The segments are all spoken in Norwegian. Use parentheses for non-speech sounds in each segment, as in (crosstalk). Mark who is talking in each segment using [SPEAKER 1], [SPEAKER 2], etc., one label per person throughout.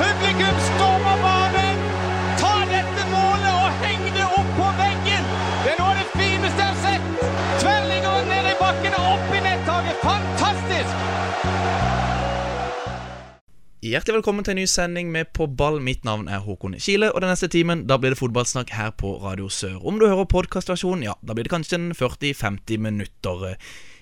[SPEAKER 1] Publikum stormer banen! Ta dette målet og heng det opp på veggen! Det er noe av det fineste jeg har sett! Tverrliggeren ned i bakken og opp i nettaket! Fantastisk!
[SPEAKER 2] Hjertelig velkommen til en ny sending med På ball. Mitt navn er Håkon Kile, og den neste timen da blir det fotballsnakk her på Radio Sør. Om du hører podkastversjonen, ja, da blir det kanskje en 40-50 minutter.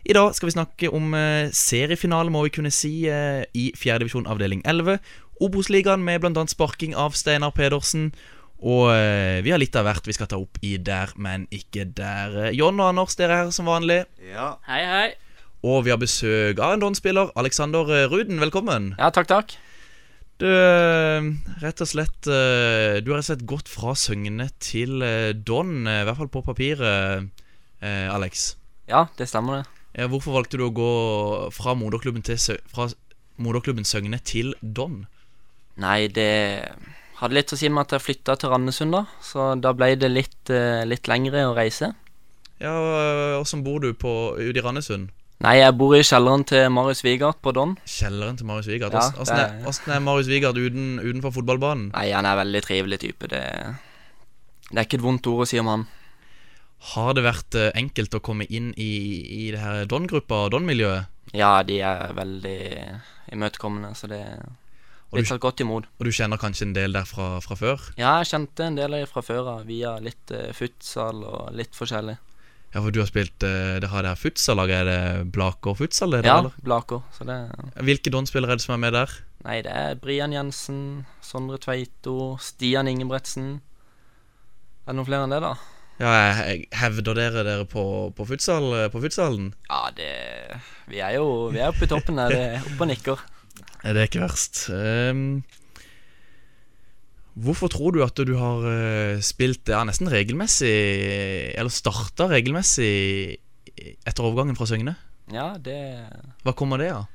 [SPEAKER 2] I dag skal vi snakke om eh, seriefinale, må vi kunne si, eh, i 4. divisjon avdeling 11. Obos-ligaen med bl.a. sparking av Steinar Pedersen. Og eh, vi har litt av hvert vi skal ta opp i der, men ikke der. Eh, John og Anders, dere er her som vanlig.
[SPEAKER 3] Ja,
[SPEAKER 4] Hei, hei.
[SPEAKER 2] Og vi har besøk av en Don-spiller, Alexander eh, Ruden. Velkommen.
[SPEAKER 4] Ja, takk, takk.
[SPEAKER 2] Du, eh, rett og slett eh, Du har rett og slett gått fra Søgne til eh, Don, eh, i hvert fall på papiret, eh, Alex.
[SPEAKER 4] Ja, det stemmer det.
[SPEAKER 2] Ja, Hvorfor valgte du å gå fra moderklubben, til, Sø- fra moderklubben Søgne til Don?
[SPEAKER 4] Nei, det hadde litt å si med at jeg flytta til Randesund, da. Så da ble det litt, eh, litt lengre å reise.
[SPEAKER 2] Ja, eh, Åssen bor du på, ute i Randesund?
[SPEAKER 4] Nei, jeg bor i kjelleren til Marius Wigard på Don.
[SPEAKER 2] Kjelleren til Marius Wigard.
[SPEAKER 4] Ja,
[SPEAKER 2] Åssen- Åssen
[SPEAKER 4] det
[SPEAKER 2] er,
[SPEAKER 4] er-
[SPEAKER 2] åssen er Marius Wigard uten, utenfor fotballbanen?
[SPEAKER 4] Nei, han er en veldig trivelig type. Det, det er ikke et vondt ord å si om han.
[SPEAKER 2] Har det vært eh, enkelt å komme inn i, i det her Don-gruppa, Don-miljøet?
[SPEAKER 4] Ja, de er veldig imøtekommende, så det
[SPEAKER 2] Og du-
[SPEAKER 4] blir tatt godt imot.
[SPEAKER 2] Og du kjenner kanskje en del der fra, fra før?
[SPEAKER 4] Ja, jeg kjente en del av dem fra før av via litt eh, futsal og litt forskjellig.
[SPEAKER 2] Ja, for du har spilt eh, det her, det her futsallaget. Er det Blaker futsal? Er det,
[SPEAKER 4] Ja,
[SPEAKER 2] eller?
[SPEAKER 4] Blaker. Så det
[SPEAKER 2] Hvilke Don-spillere er det som er med der?
[SPEAKER 4] Nei, det er Brian Jensen, Sondre Tveito, Stian Ingebretsen. Er det noen flere enn det, da?
[SPEAKER 2] Ja, jeg, jeg Hevder dere dere på, på, futsal, eh, på futsalen?
[SPEAKER 4] Ja, det Vi er jo vi er oppe i toppen der. det er Oppe og nikker.
[SPEAKER 2] Nei, Det er ikke verst. Ehm, hvorfor tror du at du har eh, spilt ja, nesten regelmessig, eller starta regelmessig etter overgangen fra Søgne?
[SPEAKER 4] Ja, det
[SPEAKER 2] Hva kommer det av?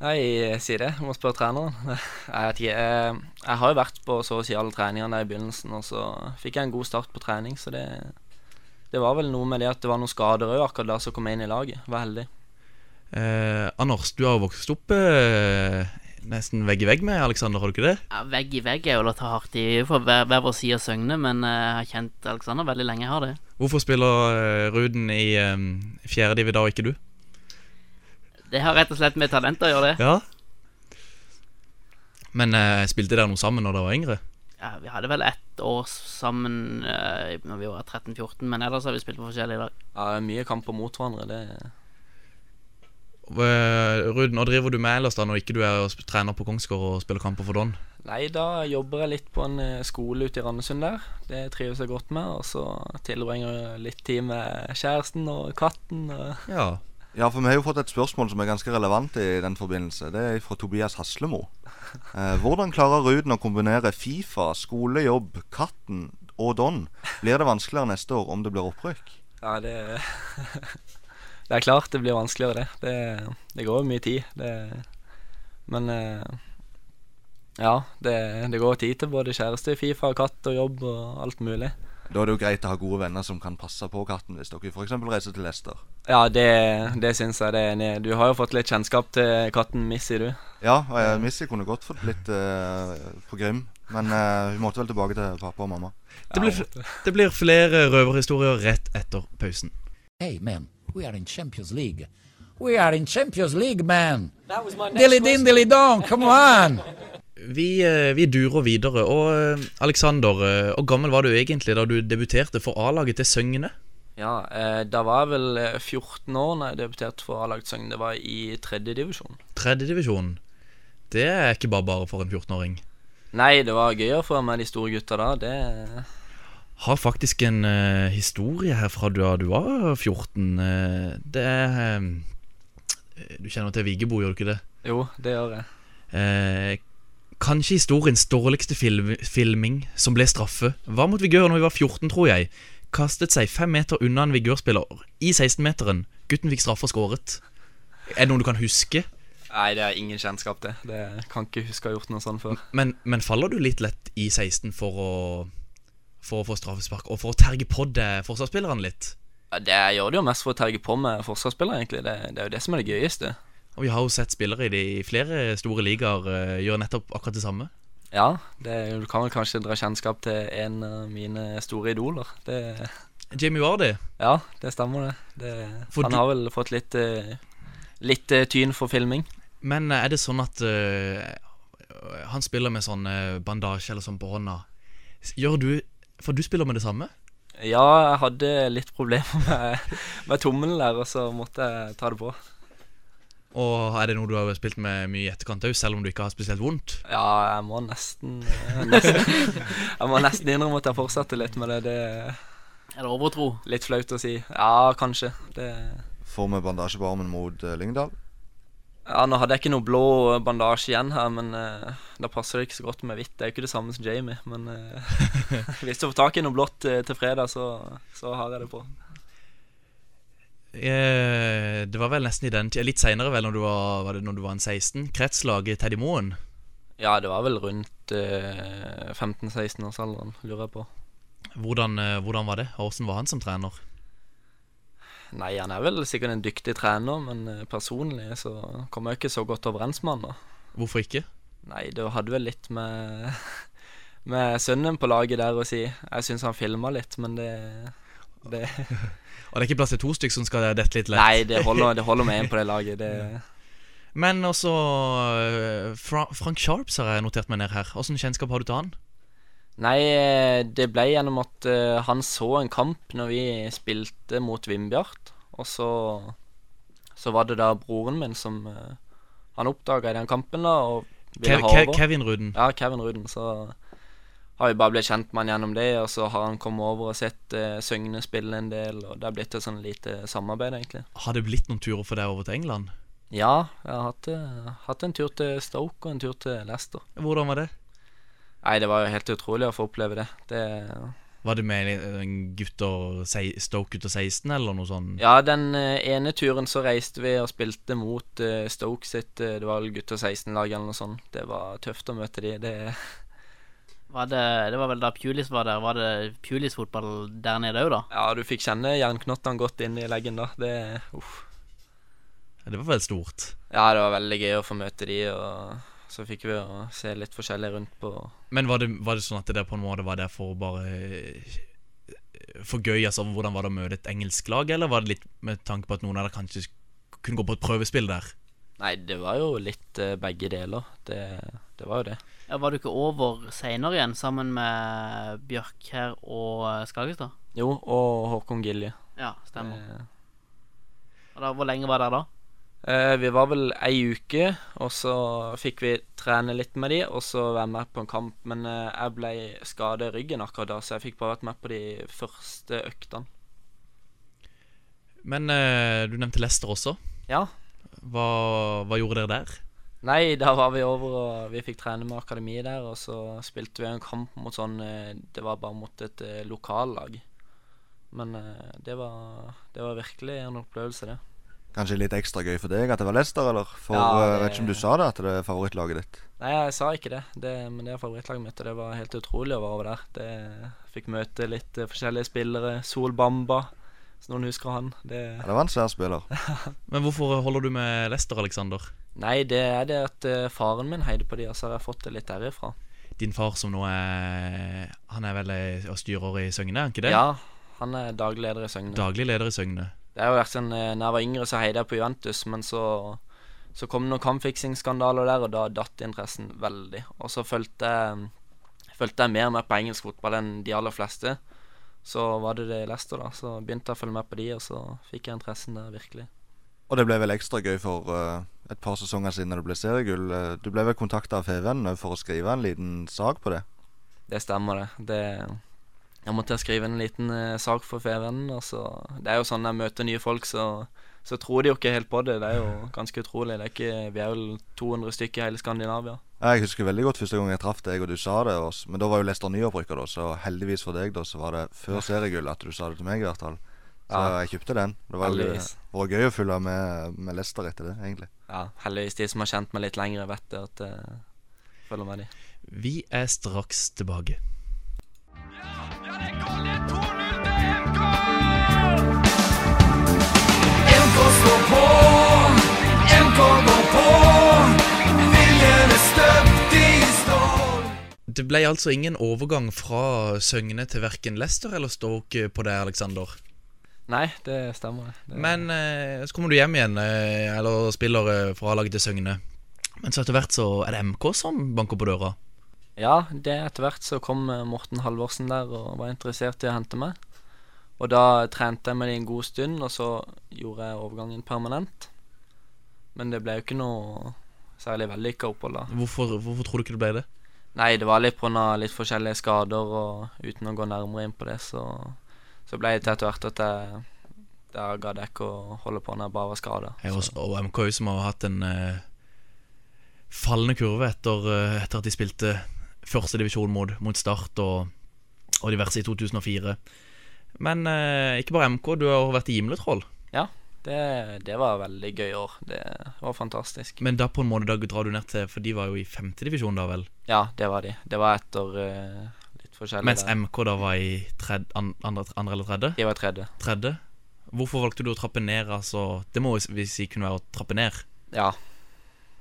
[SPEAKER 4] Nei, si det. Jeg må spørre treneren. Jeg vet ikke. Jeg, jeg har jo vært på så å si alle treningene der i begynnelsen, og så fikk jeg en god start på trening, så det Det var vel noe med det at det var noen skader òg akkurat da som kom jeg inn i laget. Var heldig.
[SPEAKER 2] Eh, Anders, du har jo vokst opp eh, nesten vegg i vegg med Aleksander, har du ikke det?
[SPEAKER 5] Ja, vegg i vegg er jo å ta hardt i. Vi er på hver, hver vår side av Søgne, men eh, jeg har kjent Alexander veldig lenge. jeg har det
[SPEAKER 2] Hvorfor spiller eh, Ruden i um, fjerde divi da, og ikke du?
[SPEAKER 5] Det har rett og slett med talent å gjøre, det.
[SPEAKER 2] Ja Men eh, spilte dere noe sammen når dere var yngre?
[SPEAKER 5] Ja, Vi hadde vel ett år sammen eh, når vi var 13-14, men ellers har vi spilt på forskjellige lag.
[SPEAKER 4] Ja, mye kamper mot hverandre. Det
[SPEAKER 2] Eh, Ruden, hva driver du med ellers da når ikke du er og sp- trener på Kongsgård og spiller kamper for Don?
[SPEAKER 4] Nei, da jobber jeg litt på en eh, skole ute i Randesund der. Det trives jeg godt med. Og så tilbringer jeg litt tid med kjæresten og katten. Og
[SPEAKER 2] Ja
[SPEAKER 3] ja for vi har jo fått et spørsmål som er ganske relevant i den forbindelse. Det er fra Tobias Haslemo. Eh, hvordan klarer Ruden å kombinere Fifa, skolejobb, Katten og Don? Blir det vanskeligere neste år om det blir opprykk?
[SPEAKER 4] ja, det (laughs) Det er klart det blir vanskeligere, det. Det, det går jo mye tid. Det, men eh, ja, det, det går tid til både kjæreste, Fifa, katt og jobb og alt mulig.
[SPEAKER 3] Da er det jo greit å ha gode venner som kan passe på katten, hvis dere f.eks. reiser til Leicester.
[SPEAKER 4] Ja, det, det syns jeg det er enig i. Du har jo fått litt kjennskap til katten Missy, du.
[SPEAKER 3] Ja, og jeg, Missy kunne godt fått litt eh, på Grim, men eh, hun måtte vel tilbake til pappa og mamma.
[SPEAKER 2] Det blir, fl- det blir flere røverhistorier rett etter pausen
[SPEAKER 6] Hey, man, we are in Champions League. We are in Champions League, man. That was my dilly din, dilly dong. Come on.
[SPEAKER 2] vi, eh, vi durer videre Og eh, Alexander, eh, hvor gammel var du egentlig da du debuterte for A-laget til Søgne?
[SPEAKER 4] Ja, eh, da var jeg vel eh, 14 år når jeg debuterte for A-laget Søgne. Det var i tredje divisjon.
[SPEAKER 2] Tredjedivisjonen Det er ikke bare bare for en 14-åring
[SPEAKER 4] Nei, det var gøyere for meg, de store gutta da. Det,
[SPEAKER 2] har faktisk en eh, historie her fra da du var 14. eh, det er eh, Du kjenner til Vigebo, gjør du ikke det?
[SPEAKER 4] jo, det gjør jeg.
[SPEAKER 2] Eh, kanskje historiens dårligste film, filming, som ble straffe, var mot Vigør når vi var 14, tror jeg. Kastet seg fem meter unna en Vigør-spiller i 16-meteren. Gutten fikk straffe og skåret. Er det noe du kan huske?
[SPEAKER 4] Nei, det er ingen kjennskap til. Det kan ikke huske å ha gjort noe sånt før.
[SPEAKER 2] Men, men faller du litt lett i 16 for å for å få straffespark, og for å terge på deg forsvarsspilleren litt?
[SPEAKER 4] Ja, Det jeg gjør det jo mest for å terge på med forsvarsspillere, egentlig. Det, det er jo det som er det gøyeste.
[SPEAKER 2] Og vi har jo sett spillere i de i flere store ligaer eh, gjøre nettopp akkurat det samme.
[SPEAKER 4] Ja, det, er jo- du kan vel kanskje dra kjennskap til en av mine store idoler. Det,
[SPEAKER 2] Jamie Vardy
[SPEAKER 4] ja, det stemmer, det. det
[SPEAKER 2] For
[SPEAKER 4] han
[SPEAKER 2] du-
[SPEAKER 4] har vel fått litt, eh, litt eh, tyn for filming.
[SPEAKER 2] Men eh, er det sånn at eh, han spiller med sånn eh, bandasje eller sånn på hånda? S- Gjør du For du spiller med det samme?
[SPEAKER 4] Ja, jeg hadde litt problemer med, med tommelen der, og så måtte jeg ta det på.
[SPEAKER 2] Og er det noe du har spilt med mye i etterkant òg, selv om du ikke har spesielt vondt?
[SPEAKER 4] Ja, jeg må nesten, (laughs) eh, nesten Jeg må nesten innrømme at jeg fortsatte litt med det. Det er
[SPEAKER 5] Er det overtro?
[SPEAKER 4] litt flaut å si. Ja, kanskje. Det
[SPEAKER 3] Får vi bandasje på armen mot eh, Lyngdal?
[SPEAKER 4] Ja, nå hadde jeg ikke noe blå bandasje igjen her, men eh, da passer det ikke så godt med hvitt. Det er jo ikke det samme som Jamie, men eh, (laughs) hvis du får tak i noe blått eh, til fredag, så, så har jeg det på.
[SPEAKER 2] Eh, det var vel nesten i den tida, litt seinere vel, når du var, var, det når du var en 16. Kretslaget Teddy Moen.
[SPEAKER 4] Ja, det var vel rundt eh, 15-16 års alderen, lurer jeg på.
[SPEAKER 2] Hvordan, eh, hvordan var det? Og Hvordan var han som trener?
[SPEAKER 4] Nei, han er vel sikkert en dyktig trener, men eh, personlig så kommer jeg ikke så godt overens med han da.
[SPEAKER 2] Hvorfor ikke?
[SPEAKER 4] Nei, det hadde vel litt med, (laughs) med sønnen på laget der å si. Jeg syns han filma litt, men det, det
[SPEAKER 2] Og det er ikke plass til to stykk som skal dette litt lett.
[SPEAKER 4] Nei, det holder, det holder med én på det laget. Det,
[SPEAKER 2] Men også eh, Fra Frank Sharps har jeg notert meg ned her. Åssen kjennskap har du til han?
[SPEAKER 4] nei, eh, det ble gjennom at eh, han så en kamp når vi spilte mot Vindbjart. Og så, så var det da broren min som eh, Han oppdaga i den kampen, da, og ville
[SPEAKER 2] Kev
[SPEAKER 4] ha
[SPEAKER 2] Kev
[SPEAKER 4] over.
[SPEAKER 2] Kevin Ruden.
[SPEAKER 4] Ja, Kevin Ruden. Så har vi bare blitt kjent med han gjennom det, og så har han kommet over og sett eh, Søgne spille en del, og det har blitt et sånn lite samarbeid, egentlig.
[SPEAKER 2] Har det blitt noen turer for deg over til England?
[SPEAKER 4] Ja, jeg har hatt, eh, hatt en tur til Stoke og en tur til Leicester.
[SPEAKER 2] Hvordan var det?
[SPEAKER 4] Nei, det var jo helt utrolig å få oppleve det. det
[SPEAKER 2] Var det med en gutter, sei- Stoke-gutter 16, eller noe sånn? sånt?
[SPEAKER 4] ja, den eh, ene turen så reiste vi og spilte mot eh, Stoke sitt eh, Det var vel gutter 16-lag eller noe sånt. Det var tøft å møte de. Det,
[SPEAKER 5] Var det, det var vel da Pulis var der. Var det Pulis-fotball der nede òg, da?
[SPEAKER 4] ja, du fikk kjenne jernknottene godt inn i leggen da. Det, uff.
[SPEAKER 2] Det var vel stort.
[SPEAKER 4] Ja, det var veldig gøy å få møte de, og så fikk vi å se litt forskjellig rundt på
[SPEAKER 2] Men var det, var det sånn at det der på en måte var der for bare eh, For gøy, altså? Hvordan var det å møte et engelsk lag, eller var det litt med tanke på at noen av dere kanskje sk- kunne gå på et prøvespill der?
[SPEAKER 4] Nei, det var jo litt eh, begge deler. Det, det var jo det.
[SPEAKER 5] Ja, var du ikke over seinere igjen, sammen med Bjørkher og eh, Skagestad?
[SPEAKER 4] Jo, og Håkon Gilje.
[SPEAKER 5] Ja, stemmer.
[SPEAKER 4] Eh,
[SPEAKER 5] Og da, hvor lenge var det da?
[SPEAKER 4] Eh, vi var vel ei uke, og så fikk vi trene litt med de, og så være med på en kamp. Men eh, jeg ble skadet i ryggen akkurat da, så jeg fikk bare vært med på de første øktene.
[SPEAKER 2] Men eh, du nevnte Leicester også.
[SPEAKER 4] Ja.
[SPEAKER 2] Hva, hva gjorde dere der?
[SPEAKER 4] Nei, da var vi over, og vi fikk trene med akademiet der, og så spilte vi en kamp mot sånn eh, Det var bare mot et eh, lokallag. Men eh, det var, det var virkelig en opplevelse, det.
[SPEAKER 3] Kanskje litt ekstra gøy for deg at det var Leicester, eller? For
[SPEAKER 4] Ja,
[SPEAKER 3] eh,
[SPEAKER 4] det-
[SPEAKER 3] vet ikke om du sa det, at det er favorittlaget ditt.
[SPEAKER 4] Nei, jeg sa ikke det, det men det er favorittlaget mitt, og det var helt utrolig å være over der. Det, jeg fikk møte litt eh, forskjellige spillere. Sol Bamba, hvis noen husker han. Det,
[SPEAKER 3] Ja, det var en svær spiller.
[SPEAKER 2] Men hvorfor holder du med Leicester, Alexander?
[SPEAKER 4] nei, det er det at eh, faren min heide på de, og så har jeg fått det litt derifra.
[SPEAKER 2] Din far som nå er Han er vel eh, og styrer i Søgne, er han ikke det?
[SPEAKER 4] Ja, han er daglig leder i Søgne.
[SPEAKER 2] Daglig leder i Søgne.
[SPEAKER 4] Det har jo vært sånn, eh, når jeg var yngre, så heide jeg på Juventus, men så, så kom det noen kampfiksingsskandaler der, og da datt interessen veldig. Og så fulgte jeg, fulgte jeg mer med på engelsk fotball enn de aller fleste. Så var det det Leicester, da. Så begynte jeg å følge med på de, og så fikk jeg interessen der, virkelig.
[SPEAKER 3] Og det ble vel ekstra gøy for eh, et par sesonger siden da det ble seriegull. Eh, Du ble vel kontakta av FVN for å skrive en liten sak på det.
[SPEAKER 4] Det stemmer, det. det jeg måtte skrive en liten eh, sak for FVN. Og så, det er jo sånn når jeg møter nye folk, så, så tror de jo ikke helt på det. Det er jo ganske utrolig. Det er ikke, vi er vel 200 stykker i hele Skandinavia.
[SPEAKER 3] Jeg husker veldig godt første gang jeg traff deg og du sa det, og s- men da var jo Lester nyopprykka, da, så heldigvis for deg da, så var det før seriegull at du sa det til meg i hvert fall. Så
[SPEAKER 4] Ja.
[SPEAKER 3] jeg kjøpte den. Det var, jo-
[SPEAKER 4] Heldigvis.
[SPEAKER 3] det var gøy å følge med, med Lester etter det, egentlig.
[SPEAKER 4] Ja, heldigvis de som har kjent meg litt lenger, vet det at jeg følger med de.
[SPEAKER 2] Vi er straks tilbake.
[SPEAKER 1] Ja, det er goal! Det er 2-0 til MK!
[SPEAKER 2] Det ble altså ingen overgang fra Søgne til verken Leicester eller Stoke på det, Alexander.
[SPEAKER 4] Nei, det stemmer. Det. Det,
[SPEAKER 2] Men eh, så kommer du hjem igjen, eh, eller spiller eh, fra A-laget til Søgne. Men så etter hvert så er det MK som banker på døra.
[SPEAKER 4] Ja, det etter hvert så kom eh, Morten Halvorsen der og var interessert i å hente meg. Og da trente jeg med det en god stund, og så gjorde jeg overgangen permanent. Men det ble jo ikke noe særlig vellykka opphold da.
[SPEAKER 2] Hvorfor, hvorfor tror du ikke det ble det?
[SPEAKER 4] Nei, det var litt pga. litt forskjellige skader, og uten å gå nærmere inn på det, så, så ble det til etter hvert at jeg Da gadd jeg ikke å holde på når jeg bare var skada.
[SPEAKER 2] Jeg også, og MK er jo som har hatt en eh, fallende kurve etter, eh, etter at de spilte første divisjon mot, mot Start og, og diverse i 2004. Men eh, ikke bare MK, du har vært i Gimletroll.
[SPEAKER 4] Det, det var veldig gøy år. Det var fantastisk.
[SPEAKER 2] Men da på en måte da drar du ned til For de var jo i femte divisjon da, vel?
[SPEAKER 4] Ja, det var de. Det var etter eh, litt forskjellig
[SPEAKER 2] Mens
[SPEAKER 4] der.
[SPEAKER 2] MK da var i tred, an, andre, andre eller tredje?
[SPEAKER 4] De var tredje.
[SPEAKER 2] Tredje? Hvorfor valgte du å trappe ned, altså? Det må jo vi si kunne være å trappe ned.
[SPEAKER 4] Ja.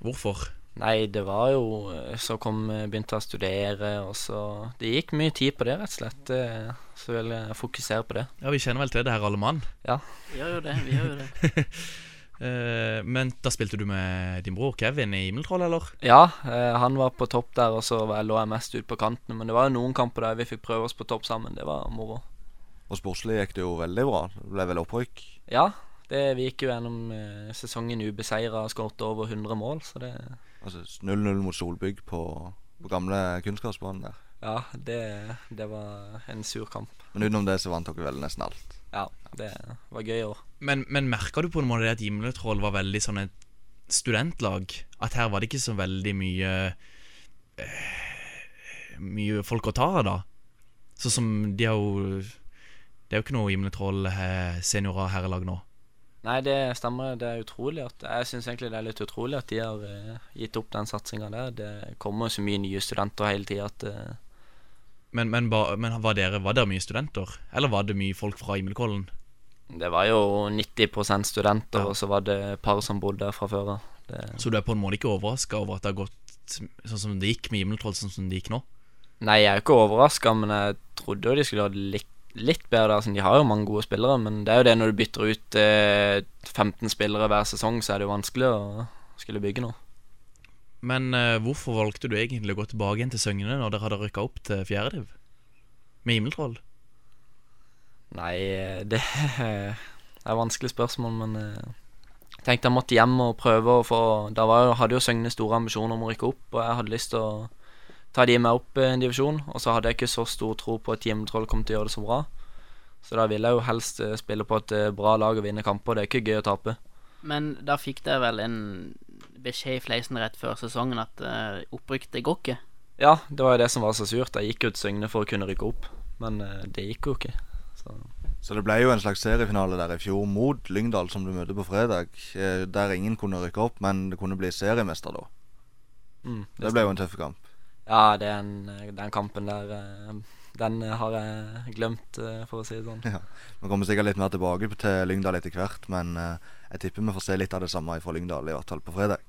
[SPEAKER 2] Hvorfor?
[SPEAKER 4] Nei, det var jo eh, Så kom eh, begynte jeg å studere, og så Det gikk mye tid på det, rett og slett. eh, Så ville jeg fokusere på det.
[SPEAKER 2] Ja, vi kjenner vel til det her, alle mann.
[SPEAKER 5] Vi gjør jo det. vi gjør jo det
[SPEAKER 2] Eh, men da spilte du med din bror Kevin i Himmeltroll, eller?
[SPEAKER 4] Ja, eh, han var på topp der, og så var- lå jeg mest ut på kanten. Men det var jo noen kamper der vi fikk prøve oss på topp sammen. Det var moro.
[SPEAKER 3] Og sportslig gikk det jo veldig bra. Det ble vel opprykk.
[SPEAKER 4] Ja, det, vi gikk jo gjennom eh, sesongen ubeseira og skåret over 100 mål, så det
[SPEAKER 3] Altså 0-0 mot Solbygg på, på gamle kunstgressbanen der.
[SPEAKER 4] Ja, det, det var en sur kamp.
[SPEAKER 3] Men utenom det så vant dere vel nesten alt.
[SPEAKER 4] Ja, det var gøy år.
[SPEAKER 2] Men, men merka du på en måte det at Gimletroll var veldig sånn et studentlag? At her var det ikke så veldig mye eh, Mye folk å ta av, da? Sånn som de har jo Det er jo ikke noe Gimletroll eh, senior- og herrelag nå.
[SPEAKER 4] Nei, det stemmer. Det er utrolig at Jeg syns egentlig det er litt utrolig at de har eh, gitt opp den satsinga der. Det kommer så mye nye studenter hele tida at eh,
[SPEAKER 2] Men, men, ba, men var, dere, var dere mye studenter? Eller var det mye folk fra Gimlekollen?
[SPEAKER 4] det var jo 90 studenter,
[SPEAKER 2] Ja.
[SPEAKER 4] og så var det et par som bodde der fra før av. Det-
[SPEAKER 2] Så du er på en måte ikke overraska over at det har gått sånn som det gikk med Gimletroll, sånn som det gikk nå?
[SPEAKER 4] Nei, jeg er jo ikke overraska, men jeg trodde jo de skulle ha det litt, litt bedre. Altså, de har jo mange gode spillere, men det er jo det når du bytter ut eh, 15 spillere hver sesong, så er det jo vanskelig å skulle bygge noe.
[SPEAKER 2] Men eh, hvorfor valgte du egentlig å gå tilbake igjen til Søgne når dere hadde rykka opp til fjerde div? Med Himmeltroll?
[SPEAKER 4] Nei, eh, det (laughs) er et vanskelig spørsmål, men eh, jeg tenkte jeg måtte hjem og prøve å få Da var jo, hadde jo Søgne store ambisjoner om å rykke opp, og jeg hadde lyst til å ta de med opp eh, en divisjon. Og så hadde jeg ikke så stor tro på at Himmeltroll kom til å gjøre det så bra. Så da ville jeg jo helst eh, spille på et eh, bra lag og vinne kamper. Det er ikke gøy å tape.
[SPEAKER 5] Men da fikk dere vel en beskjed i fleisen rett før sesongen at uh, opprykk det går ikke.
[SPEAKER 4] Ja, det var jo det som var så surt. Jeg gikk jo til Søgne for å kunne rykke opp, men eh, det gikk jo ikke. Så.
[SPEAKER 3] Så det ble jo en slags seriefinale der i fjor mot Lyngdal, som du møter på fredag. eh, Der ingen kunne rykke opp, men det kunne bli seriemester da.
[SPEAKER 4] Mm,
[SPEAKER 3] Det ble jo en tøff kamp.
[SPEAKER 4] Ja, den, den kampen der eh, Den har jeg glemt, eh, for å si det sånn.
[SPEAKER 3] Vi kommer sikkert litt mer tilbake til Lyngdal etter hvert, men eh, jeg tipper vi får se litt av det samme fra Lyngdal, i hvert fall på fredag.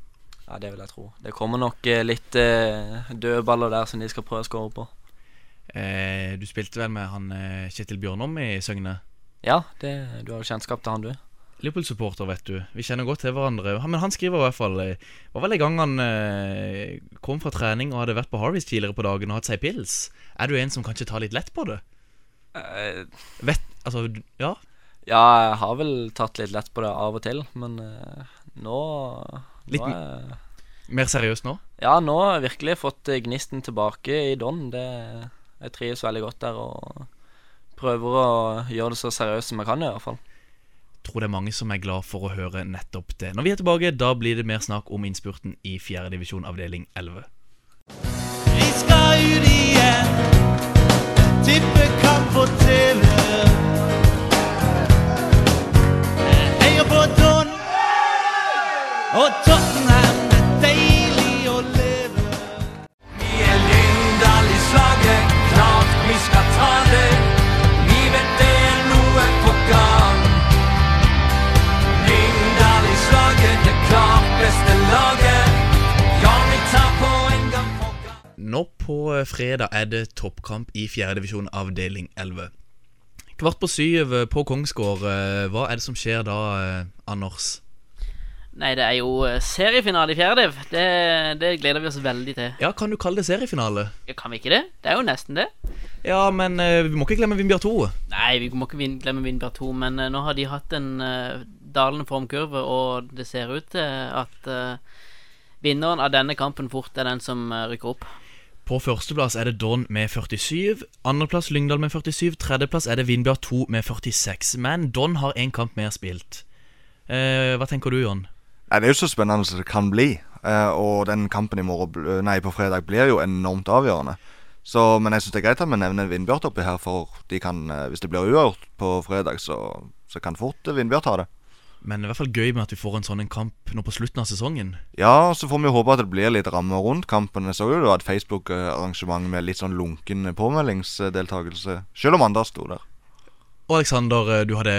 [SPEAKER 4] Ja, det vil jeg tro. Det kommer nok eh, litt eh, dødballer der som de skal prøve å skåre på.
[SPEAKER 2] Eh, du spilte vel med han eh, Kjetil Bjørnum i Søgne?
[SPEAKER 4] Ja, det, du har jo kjennskap til han, du.
[SPEAKER 2] Liverpool-supporter, vet du. Vi kjenner godt til hverandre. Han, men han skriver i hvert fall eh, Var vel en gang han eh, kom fra trening og hadde vært på Harveys tidligere på dagen og hatt seg pils. Er du en som kanskje tar litt lett på det?
[SPEAKER 4] Eh,
[SPEAKER 2] Vet Altså, du- ja.
[SPEAKER 4] ja, jeg har vel tatt litt lett på det av og til, men eh, nå
[SPEAKER 2] Litt
[SPEAKER 4] nå er, jeg-
[SPEAKER 2] Mer seriøst nå?
[SPEAKER 4] Ja, nå har jeg virkelig fått eh, gnisten tilbake i Don. Det, jeg trives veldig godt der og prøver å gjøre det så seriøst som jeg kan, i hvert fall.
[SPEAKER 2] Tror det er mange som er glad for å høre nettopp det. Når vi er tilbake, da blir det mer snakk om innspurten i 4. divisjon avdeling 11.
[SPEAKER 7] Vi skal ut igjen. Tippekamp på TV. Heia på Don. Og Tottenham, det er deilig å leve. Vi er Lyngdal i slaget, klart vi skal ta det. Vi vet det er noe på gang. Lyngdal i slaget, det klart beste laget. Ja, vi tar på en gang på gang.
[SPEAKER 2] Nå på eh, fredag er det toppkamp i fjerdedivisjon avdeling 11. Kvart på syv eh, på Kongsgård. eh, Hva er det som skjer da, eh, Anders?
[SPEAKER 5] Nei, det er jo eh, seriefinale i fjerde div. Det, det gleder vi oss veldig til.
[SPEAKER 2] Ja, kan du kalle det seriefinale?
[SPEAKER 5] Ja, Kan vi ikke det? Det er jo nesten det.
[SPEAKER 2] Ja, men eh, vi må ikke glemme Vimbjørn 2.
[SPEAKER 5] Nei, vi må ikke vin- glemme Vindbjørn 2, men eh, nå har de hatt en eh, dalende formkurve, og det ser ut til at eh, vinneren av denne kampen fort er den som eh, rykker opp.
[SPEAKER 2] På førsteplass er det Don med 47. Andreplass Lyngdal med 47. Tredjeplass er det Vindbjørn 2 med 46. Men Don har én kamp mer spilt. Eh, hva tenker du, Jon?
[SPEAKER 3] Nei, Det er jo så spennende som det kan bli. Eh, og den kampen i morgen, bl- nei, på fredag blir jo enormt avgjørende. Så, men jeg syns det er greit at vi nevner Vindbjart oppi her, for de kan, eh, hvis det blir uavgjort på fredag, så, så kan fort eh, Vindbjart ta det.
[SPEAKER 2] Men det er i hvert fall gøy med at vi får en sånn en kamp nå på slutten av sesongen.
[SPEAKER 3] Ja, så får vi håpe at det blir litt ramme rundt kampen. Jeg så jo det var et Facebook-arrangement med litt sånn lunken påmeldingsdeltakelse. Selv om Anders sto der.
[SPEAKER 2] Og Aleksander, eh, du hadde,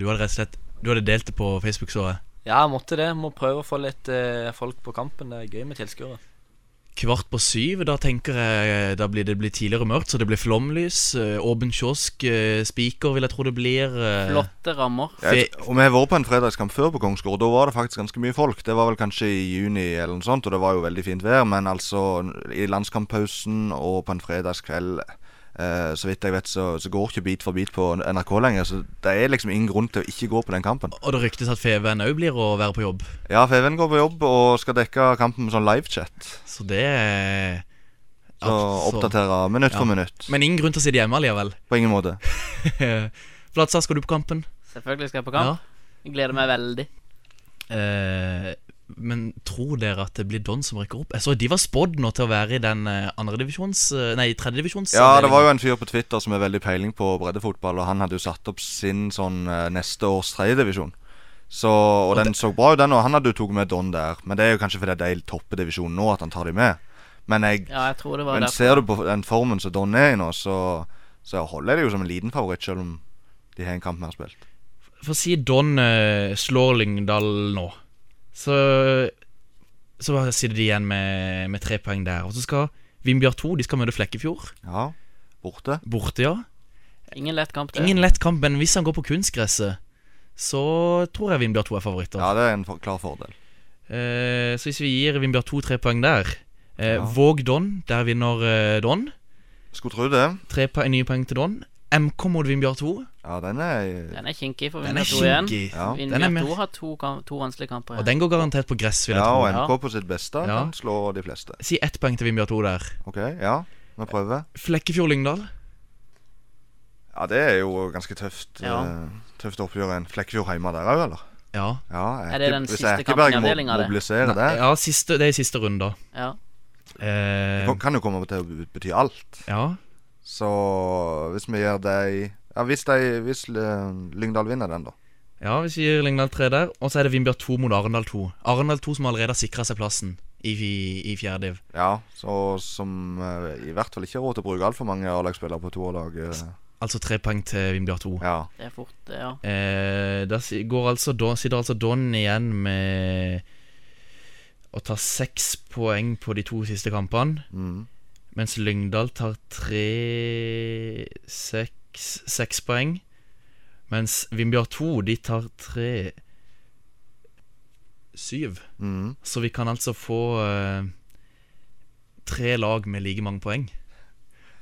[SPEAKER 2] du hadde rett og slett Du hadde delt det på Facebook, så jeg.
[SPEAKER 4] Ja, jeg måtte det. Må prøve å få litt eh, folk på kampen. Det er gøy med tilskuere.
[SPEAKER 2] Kvart på syv, da tenker jeg eh, Da blir det blir tidligere mørkt, så det blir flomlys. eh, Åpen kiosk, eh, spiker vil jeg tro det blir. eh,
[SPEAKER 5] Flotte rammer.
[SPEAKER 3] Ja, jeg tr- og vi har vært på en fredagskamp før på Kongsgård. Da var det faktisk ganske mye folk. Det var vel kanskje i juni eller noe sånt, og det var jo veldig fint vær. Men altså, i landskamppausen og på en fredagskveld eh, Så vidt jeg vet, så, så går ikke Bit for bit på NRK lenger. Så det er liksom ingen grunn til å ikke gå på den kampen.
[SPEAKER 2] Og det ryktes at Feven òg blir å være på jobb.
[SPEAKER 3] Ja, Feven går på jobb og skal dekke kampen med sånn livechat.
[SPEAKER 2] Så det er
[SPEAKER 3] Så oppdatere minutt for
[SPEAKER 2] Ja.
[SPEAKER 3] minutt.
[SPEAKER 2] Men ingen grunn til å sitte hjemme allikevel. (laughs)
[SPEAKER 3] På ingen måte.
[SPEAKER 2] Flatsa, skal du på kampen?
[SPEAKER 5] Selvfølgelig skal jeg på kamp. Jeg gleder meg veldig.
[SPEAKER 2] Eh, men tror dere at det blir Don som rykker opp? Jeg så de var spådd nå til å være i den eh, andre divisjons... eh, Nei, tredje divisjons
[SPEAKER 3] Ja, det var jo en fyr på Twitter som har veldig peiling på breddefotball, og han hadde jo satt opp sin sånn eh, neste års tredjedivisjon. Så, og, den så bra ut, den, og han hadde jo tatt med Don der. Men det er jo kanskje fordi de topper divisjonen nå, at han tar de med. Men, jeg,
[SPEAKER 5] Ja, jeg tror det var
[SPEAKER 3] men
[SPEAKER 5] derfor.
[SPEAKER 3] ser du på den formen som Don er i nå, så, så holder jeg det jo som en liten favoritt, selv om de har en kamp mer spilt.
[SPEAKER 2] For å si Don eh, slår Lyngdal nå, så Så bare sitter de igjen med, med tre poeng der. Og så skal Vindbjørn 2 de skal møte Flekkefjord.
[SPEAKER 3] Ja, borte.
[SPEAKER 2] Borte, ja.
[SPEAKER 5] Ingen lett kamp. det.
[SPEAKER 2] Ingen lett kamp, men hvis han går på kunstgresset, så tror jeg Vindbjørn 2 er favoritter.
[SPEAKER 3] Ja, det er en for, klar fordel.
[SPEAKER 2] Eh, så hvis vi gir Vindbjørn 2 tre poeng der eh,
[SPEAKER 3] Ja.
[SPEAKER 2] Våg Don, der vinner eh, Don.
[SPEAKER 3] Skulle tro det.
[SPEAKER 2] Tre poeng, nye poeng til Don. MK mot Vindbjørn 2.
[SPEAKER 3] Ja, den er
[SPEAKER 5] Den er kinkig for
[SPEAKER 2] Den er
[SPEAKER 5] Vindbjørn 2 igjen.
[SPEAKER 2] kinkig.
[SPEAKER 3] Ja.
[SPEAKER 2] Den er
[SPEAKER 5] Vindbjørn
[SPEAKER 2] mer-
[SPEAKER 5] 2 har to, kam- to vanskelige kamper
[SPEAKER 2] Og
[SPEAKER 5] igjen.
[SPEAKER 2] den går garantert på gress, vil jeg
[SPEAKER 3] Ja, og
[SPEAKER 2] tro.
[SPEAKER 5] en-
[SPEAKER 3] NK på sitt beste
[SPEAKER 2] Ja.
[SPEAKER 3] kan slå de fleste.
[SPEAKER 2] Si ett poeng til Vindbjørn 2 der.
[SPEAKER 3] OK, ja. Vi prøver.
[SPEAKER 2] Flekkefjord Lyngdal.
[SPEAKER 3] Ja, det er jo ganske tøft.
[SPEAKER 5] Ja.
[SPEAKER 3] eh, Tøft oppgjør en Flekkefjord hjemme der òg, eller?
[SPEAKER 2] Ja.
[SPEAKER 3] Ja,
[SPEAKER 5] Er det den
[SPEAKER 3] Erke- hvis
[SPEAKER 5] siste
[SPEAKER 3] Erkeberg
[SPEAKER 5] kampen i
[SPEAKER 3] må-
[SPEAKER 5] avdelingen, det?
[SPEAKER 3] Mobiliserer der.
[SPEAKER 2] ja siste, det er i siste runde, da.
[SPEAKER 5] Ja.
[SPEAKER 2] Eh,
[SPEAKER 3] Det kan jo komme til å be- bety alt.
[SPEAKER 2] ja.
[SPEAKER 3] Så hvis vi gjør de Ja, hvis, de, hvis eh, Lyngdal vinner den, da.
[SPEAKER 2] ja, vi sier Lyngdal 3 der. Og så er det Vindbjørn 2 mot Arendal 2. Arendal 2 som allerede har sikra seg plassen i, i, i fjerde div.
[SPEAKER 3] Ja, så som eh, i hvert fall ikke har råd til å bruke altfor mange A-lagsspillere på toerlag. eh,
[SPEAKER 2] Altså tre poeng til Vindbjørn 2.
[SPEAKER 3] Ja.
[SPEAKER 5] Det er fort, det, ja.
[SPEAKER 2] Eh, der si- går altså, Don- sitter altså Don igjen med å ta seks poeng på de to siste kampene.
[SPEAKER 3] Mm.
[SPEAKER 2] Mens Lyngdal tar tre seks, seks poeng. Mens Vindbjørn 2 de tar tre syv.
[SPEAKER 3] Mm.
[SPEAKER 2] Så vi kan altså få eh, tre lag med like mange poeng.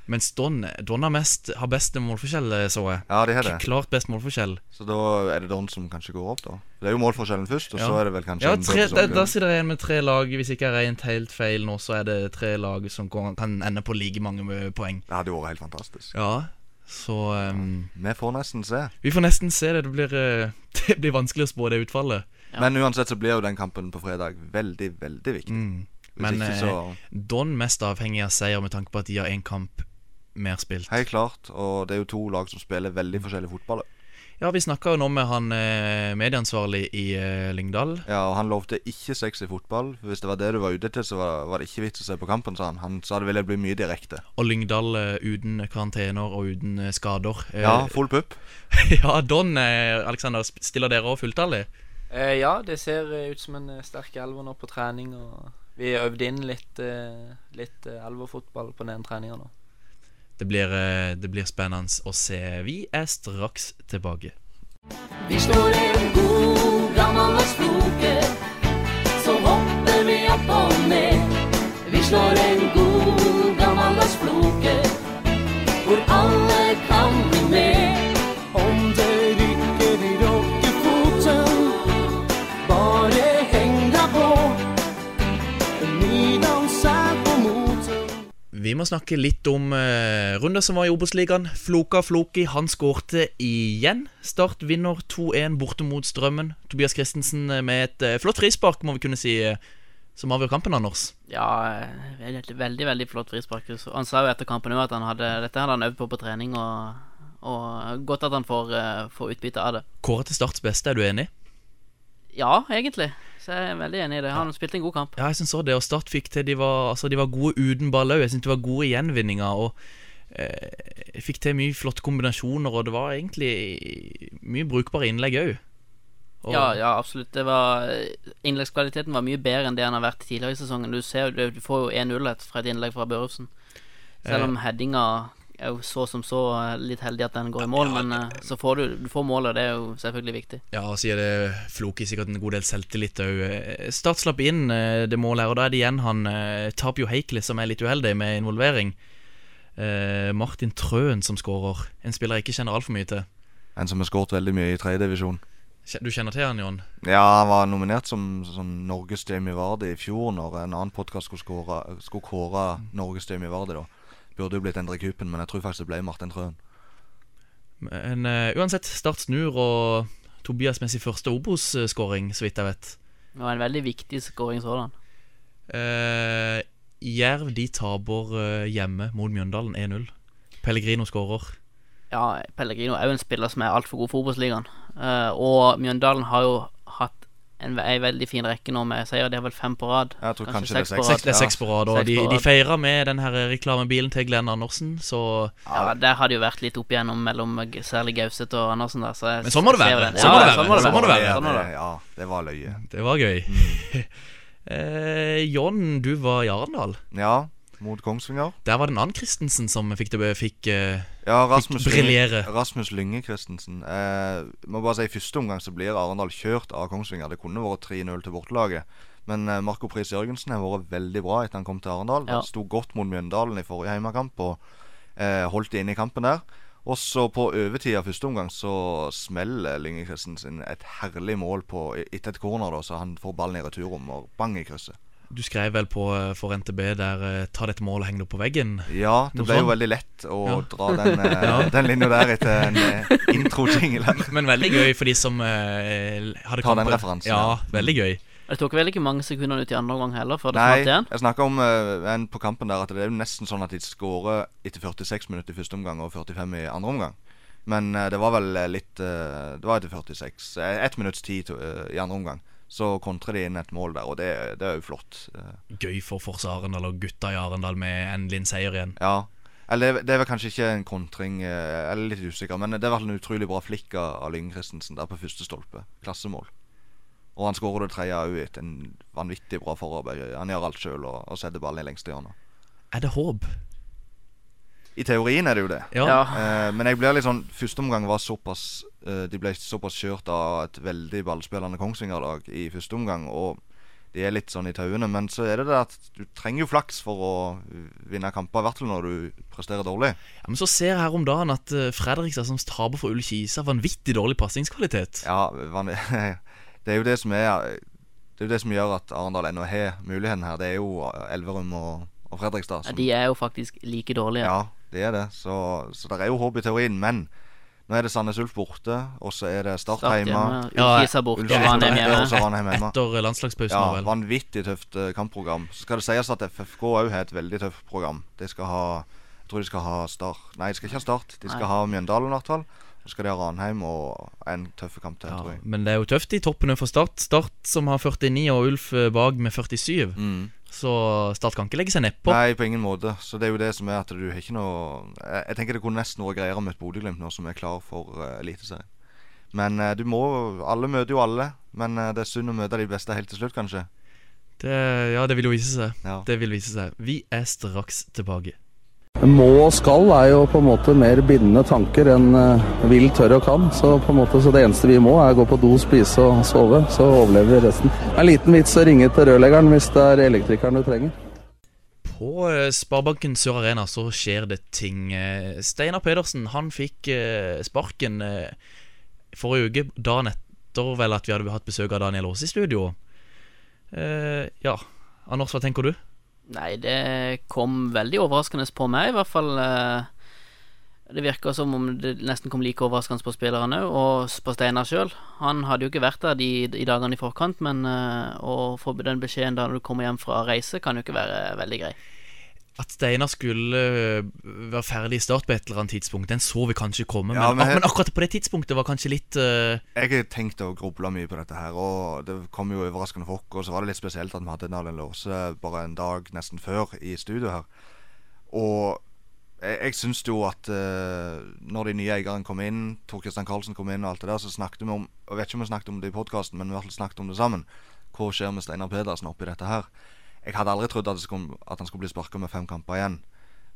[SPEAKER 2] Mens Don, Don har, mest, har best målforskjell, eh, så jeg.
[SPEAKER 3] ja, de har det.
[SPEAKER 2] Klart best målforskjell.
[SPEAKER 3] Så da er det Don som kanskje går opp, da. Det er jo målforskjellen først, og
[SPEAKER 2] Ja.
[SPEAKER 3] så er det vel kanskje
[SPEAKER 2] Ja,
[SPEAKER 3] en
[SPEAKER 2] tre, da,
[SPEAKER 3] dobbeltsoppgjør.
[SPEAKER 2] da sitter jeg igjen med tre lag. Hvis ikke jeg har regnet helt feil nå, så er det tre lag som kan, kan ende på like mange eh, poeng.
[SPEAKER 3] Det hadde jo vært helt fantastisk.
[SPEAKER 2] Ja, så ehm,
[SPEAKER 3] Vi får nesten se.
[SPEAKER 2] Vi får nesten se det. Det blir, eh, (laughs) det blir vanskelig å spå det utfallet.
[SPEAKER 3] Men uansett så blir jo den kampen på fredag veldig, veldig viktig. Hvis
[SPEAKER 2] Men
[SPEAKER 3] ikke,
[SPEAKER 2] eh,
[SPEAKER 3] så-
[SPEAKER 2] Don mest avhengig av seier med tanke på at de har én kamp mer spilt.
[SPEAKER 3] Helt klart. Og det er jo to lag som spiller veldig forskjellig fotball.
[SPEAKER 2] Ja, vi snakka jo nå med han eh, medieansvarlig i eh, Lyngdal.
[SPEAKER 3] Ja, og Han lovte ikke sex i fotball. for Hvis det var det du var ute til, så var, var det ikke vits å se på kampen, sa han. Han sa det ville bli mye direkte.
[SPEAKER 2] Og Lyngdal eh, uten karantener og uten eh, skader. Eh,
[SPEAKER 3] Ja, full pupp.
[SPEAKER 2] (laughs) ja, Don, eh, Alexander, sp- stiller dere òg fulltallig?
[SPEAKER 4] Eh, ja, det ser eh, ut som en eh, sterk elver nå på trening. Og Vi øvde inn litt, eh, litt eh, elverfotball på den treninga nå.
[SPEAKER 2] Det blir, eh, det blir spennende å se. Vi er straks tilbake.
[SPEAKER 8] Vi slår en god gammel og snoke, så hopper vi opp og ned. Vi slår en god gammel og snoke, hvor alle kan bli med. Om det rykker i rockefoten, bare heng deg på. Nydans er på moten.
[SPEAKER 2] Vi må snakke litt om eh, runder som var i Obos-ligaen. Floka Floki han skårte igjen. Start vinner 2-1 borte mot Strømmen. Tobias Christensen eh, med et eh, flott frispark, må vi kunne si, eh, som avgjør kampen, Anders.
[SPEAKER 5] Ja, eh, veldig, veldig, veldig flott frispark. Så Han sa jo etter kampen òg at han hadde, dette hadde han øvd på på trening, og, og godt at han får, eh, får utbytte av det.
[SPEAKER 2] Kåret til Starts beste, er du enig?
[SPEAKER 5] Ja, egentlig. Så jeg er veldig enig i det. Han spilte en god kamp.
[SPEAKER 2] Ja, jeg syns også det. Og Start fikk til De var, altså, de var gode uten ball òg. Jeg syns de var gode i gjenvinninger. Og eh, fikk til mye flotte kombinasjoner, og det var egentlig mye brukbare innlegg òg.
[SPEAKER 5] Ja, ja, absolutt. Det var eh, Innleggskvaliteten var mye bedre enn det han har vært tidligere i sesongen. Du ser jo, du får jo 1-0 et- fra et innlegg fra Børufsen. Selv
[SPEAKER 3] Eh.
[SPEAKER 5] om headinga er jo så som så eh, litt heldig at den går i mål, men eh, så får du, du får målet, og det er jo selvfølgelig viktig.
[SPEAKER 2] Ja, og så gir det Floki sikkert en god del selvtillit òg. Start slapp inn eh, det målet her, og da er det igjen han eh, Tapio Heikle som er litt uheldig med involvering. Eh, Martin Trøen som skårer. En spiller jeg ikke kjenner altfor mye til.
[SPEAKER 3] En som har skåret veldig mye i tredjedivisjon.
[SPEAKER 2] Kje- Du kjenner til han, Jon?
[SPEAKER 3] Ja, han var nominert som, som Norges Jamie Vardy i fjor, når en annen podkast skulle, skåre- skulle kåre Norges Jamie Vardy, da. Burde jo blitt Endre Kupen, men jeg tror faktisk det ble Martin Trøen.
[SPEAKER 2] Men eh, uansett, Start snur, og Tobias med sin første Obos-skåring, så vidt jeg vet.
[SPEAKER 5] Det var en veldig viktig skåring sådan.
[SPEAKER 2] Eh, Jerv de taper eh, hjemme mot Mjøndalen 1-0. Pellegrino skårer.
[SPEAKER 5] Ja, Pellegrino er jo en spiller som er altfor god for Obos-ligaen. Eh, og Mjøndalen har jo hatt en, ve- ei veldig fin rekke nå med seier. De har vel fem på rad.
[SPEAKER 3] Jeg tror kanskje det er seks.
[SPEAKER 5] på rad.
[SPEAKER 2] Seks, det er seks på rad, og
[SPEAKER 5] Seks
[SPEAKER 2] de,
[SPEAKER 5] på
[SPEAKER 2] de
[SPEAKER 5] rad.
[SPEAKER 2] feirer med den her reklamebilen til Glenn Andersen, så
[SPEAKER 5] Ja, Der har det jo vært litt opp igjennom mellom g- særlig Gauseth og Andersen. Der, så jeg,
[SPEAKER 2] Men sånn må det
[SPEAKER 5] jeg ser
[SPEAKER 2] være.
[SPEAKER 5] jo det.
[SPEAKER 2] Sånn må det
[SPEAKER 5] Ja,
[SPEAKER 2] være.
[SPEAKER 5] sånn må det
[SPEAKER 2] Sånn må det
[SPEAKER 5] være.
[SPEAKER 2] være.
[SPEAKER 5] Sånn må det være.
[SPEAKER 3] Ja, det var løye.
[SPEAKER 2] Det var gøy.
[SPEAKER 5] Mm.
[SPEAKER 2] (laughs) eh, John, du var i Arendal.
[SPEAKER 3] Ja, mot Kongsvinger.
[SPEAKER 2] Der var det en annen Christensen som fikk det fikk, eh,
[SPEAKER 3] Ja, Rasmus
[SPEAKER 2] briljere.
[SPEAKER 3] Lynge, Rasmus Lynge Christensen. Eh, må bare si I første omgang så blir Arendal kjørt av Kongsvinger. Det kunne vært 3-0 til bortelaget. Men eh, Marco Pris Jørgensen har vært veldig bra etter han kom til Arendal.
[SPEAKER 5] Ja.
[SPEAKER 3] Han sto godt mot Mjøndalen i forrige heimekamp og eh, holdt det inne i kampen der. Og så på overtid av første omgang så smeller Lynge Christensen et herlig mål på etter et corner, da, så han får ballen i returrommet og bang i krysset.
[SPEAKER 2] Du skrev vel på eh, for NTB der eh, 'ta dette målet og heng det opp på veggen'.
[SPEAKER 3] Ja, det
[SPEAKER 2] Noe
[SPEAKER 3] ble jo
[SPEAKER 2] sånn.
[SPEAKER 3] veldig lett å
[SPEAKER 2] Ja.
[SPEAKER 3] dra
[SPEAKER 2] (laughs)
[SPEAKER 3] den, eh, den linja der etter en eh, intro-jingle her.
[SPEAKER 2] Men veldig gøy for de som eh,
[SPEAKER 3] Ta den
[SPEAKER 2] hadde kampen.
[SPEAKER 3] referansen,
[SPEAKER 2] Ja,
[SPEAKER 3] ja. Mm.
[SPEAKER 2] veldig gøy.
[SPEAKER 5] Og Det tok vel ikke mange sekundene ut i andre omgang heller før det
[SPEAKER 3] Nei,
[SPEAKER 5] smalt igjen.
[SPEAKER 3] jeg snakka om eh, en på kampen der at det er jo nesten sånn at de skårer etter 46 minutter i første omgang og 45 i andre omgang. Men eh, det var vel eh, litt eh, Det var etter 46. Uh, ett minutts tid to- eh, i andre omgang. Så kontrer de inn et mål der, og det, det er jo flott. Eh,
[SPEAKER 2] Gøy for Forsa Arendal og gutta i Arendal med endelig en seier igjen.
[SPEAKER 3] ja. Eller det, det er vel kanskje ikke en kontring, eh, jeg er litt usikker, men det er i hvert fall en utrolig bra flikk av av Lyng Christensen der på første stolpe. Klassemål. Og han skårer det tredje òg etter en vanvittig bra forarbeid. Han gjør alt sjøl og, og setter ballen i lengste hjørne.
[SPEAKER 2] Er det håp?
[SPEAKER 3] I teorien er det jo det.
[SPEAKER 2] Ja.
[SPEAKER 5] Ja.
[SPEAKER 3] Eh, men jeg blir litt sånn Første omgang var såpass eh, De ble såpass kjørt av et veldig ballspillende Kongsvinger-lag i første omgang, og de er litt sånn i tauene. Men så er det det at du trenger jo flaks for å vinne kamper, i hvert fall når du presterer dårlig.
[SPEAKER 2] ja, Men så ser jeg her om dagen at eh, Fredrikstad, som taper for Ullkisa, vanvittig dårlig passingskvalitet.
[SPEAKER 3] Ja, van- (laughs) Det er jo det som er Det er jo det som gjør at Arendal ennå har muligheten her. Det er jo eh, Elverum og, og Fredrikstad.
[SPEAKER 5] Ja,
[SPEAKER 3] som-
[SPEAKER 5] De er jo faktisk like dårlige.
[SPEAKER 3] Ja, det er det. Så, så det er jo håp i teorien. Men nå er det Sandnes Ulf borte, og så er det Start
[SPEAKER 5] Start
[SPEAKER 3] hjemme.
[SPEAKER 5] hjemme,
[SPEAKER 2] Ja,
[SPEAKER 5] Ullkisa borte,
[SPEAKER 3] Ulstein
[SPEAKER 2] ja, Ranheim
[SPEAKER 5] Ranheim
[SPEAKER 3] borte, og
[SPEAKER 5] hjemme.
[SPEAKER 3] så Ranheim hjemme.
[SPEAKER 2] Etter eh, landslagspausen,
[SPEAKER 3] Ja,
[SPEAKER 2] vel.
[SPEAKER 3] vanvittig tøft eh, kampprogram. Så skal det sies at FFK òg har et veldig tøft program. De skal ha Jeg tror de skal ha Start Nei, de skal ikke ha Start. De skal
[SPEAKER 5] Nei.
[SPEAKER 3] ha Mjøndalen i hvert fall. Så skal de ha Ranheim og en tøff kamp til,
[SPEAKER 2] Ja,
[SPEAKER 3] tror jeg.
[SPEAKER 2] men det er jo tøft i toppene for Start. Start som har 49 og Ulf eh, bak med 47. Så Start kan ikke legge seg nedpå.
[SPEAKER 3] Mm. Nei, på ingen måte. Så det er jo det som er at du har ikke noe Jeg, jeg tenker det kunne nesten vært greiere med et Bodø-Glimt nå som er klar for eh, Eliteserien. Men eh, du må Alle møter jo alle. Men eh, det er synd å møte de beste helt til slutt, kanskje.
[SPEAKER 2] Det, ja, det vil jo vise seg.
[SPEAKER 3] Ja.
[SPEAKER 2] Det vil vise seg. Vi er straks tilbake.
[SPEAKER 9] Må og skal er jo på en måte mer bindende tanker enn eh, vil, tør og kan. Så på en måte, så det eneste vi må, er gå på do, spise og sove. Så overlever vi resten. En liten vits å ringe til rørleggeren hvis det er elektrikeren du trenger.
[SPEAKER 2] På eh, Sparebanken Sør Arena så skjer det ting. Eh, Steinar Pedersen han fikk eh, sparken eh, forrige uke, dagen etter vel at vi hadde hatt besøk av Daniel Aas i studio. Eh, ja, Anders, hva tenker du?
[SPEAKER 5] Nei, det kom veldig overraskende på meg, i hvert fall. eh, Det virka som om det nesten kom like overraskende på spillerne og s- på Steinar sjøl. Han hadde jo ikke vært der de, i dagene i forkant, men eh, å få den beskjeden da når du kommer hjem fra reise, kan jo ikke være veldig grei.
[SPEAKER 2] At Steinar skulle eh, være ferdig i start på et eller annet tidspunkt, den så vi kanskje komme.
[SPEAKER 3] Ja,
[SPEAKER 2] men,
[SPEAKER 3] men-
[SPEAKER 2] ak- men akkurat på det tidspunktet var kanskje litt eh,
[SPEAKER 3] Jeg har tenkt å gruble mye på dette her, og det kom jo overraskende for oss. Og så var det litt spesielt at vi hadde Nalen Låse bare en dag nesten før i studio her. Og jeg, jeg syns jo at eh, når de nye eierne kom inn, Tor Kristian Karlsen kom inn og alt det der, så snakket vi om Jeg vet ikke om vi snakket om det i podkasten, men vi har i hvert fall snakket om det sammen. Hva skjer med Steinar Pedersen oppi dette her? Jeg hadde aldri trodd at, det skulle, at han skulle bli sparka med fem kamper igjen.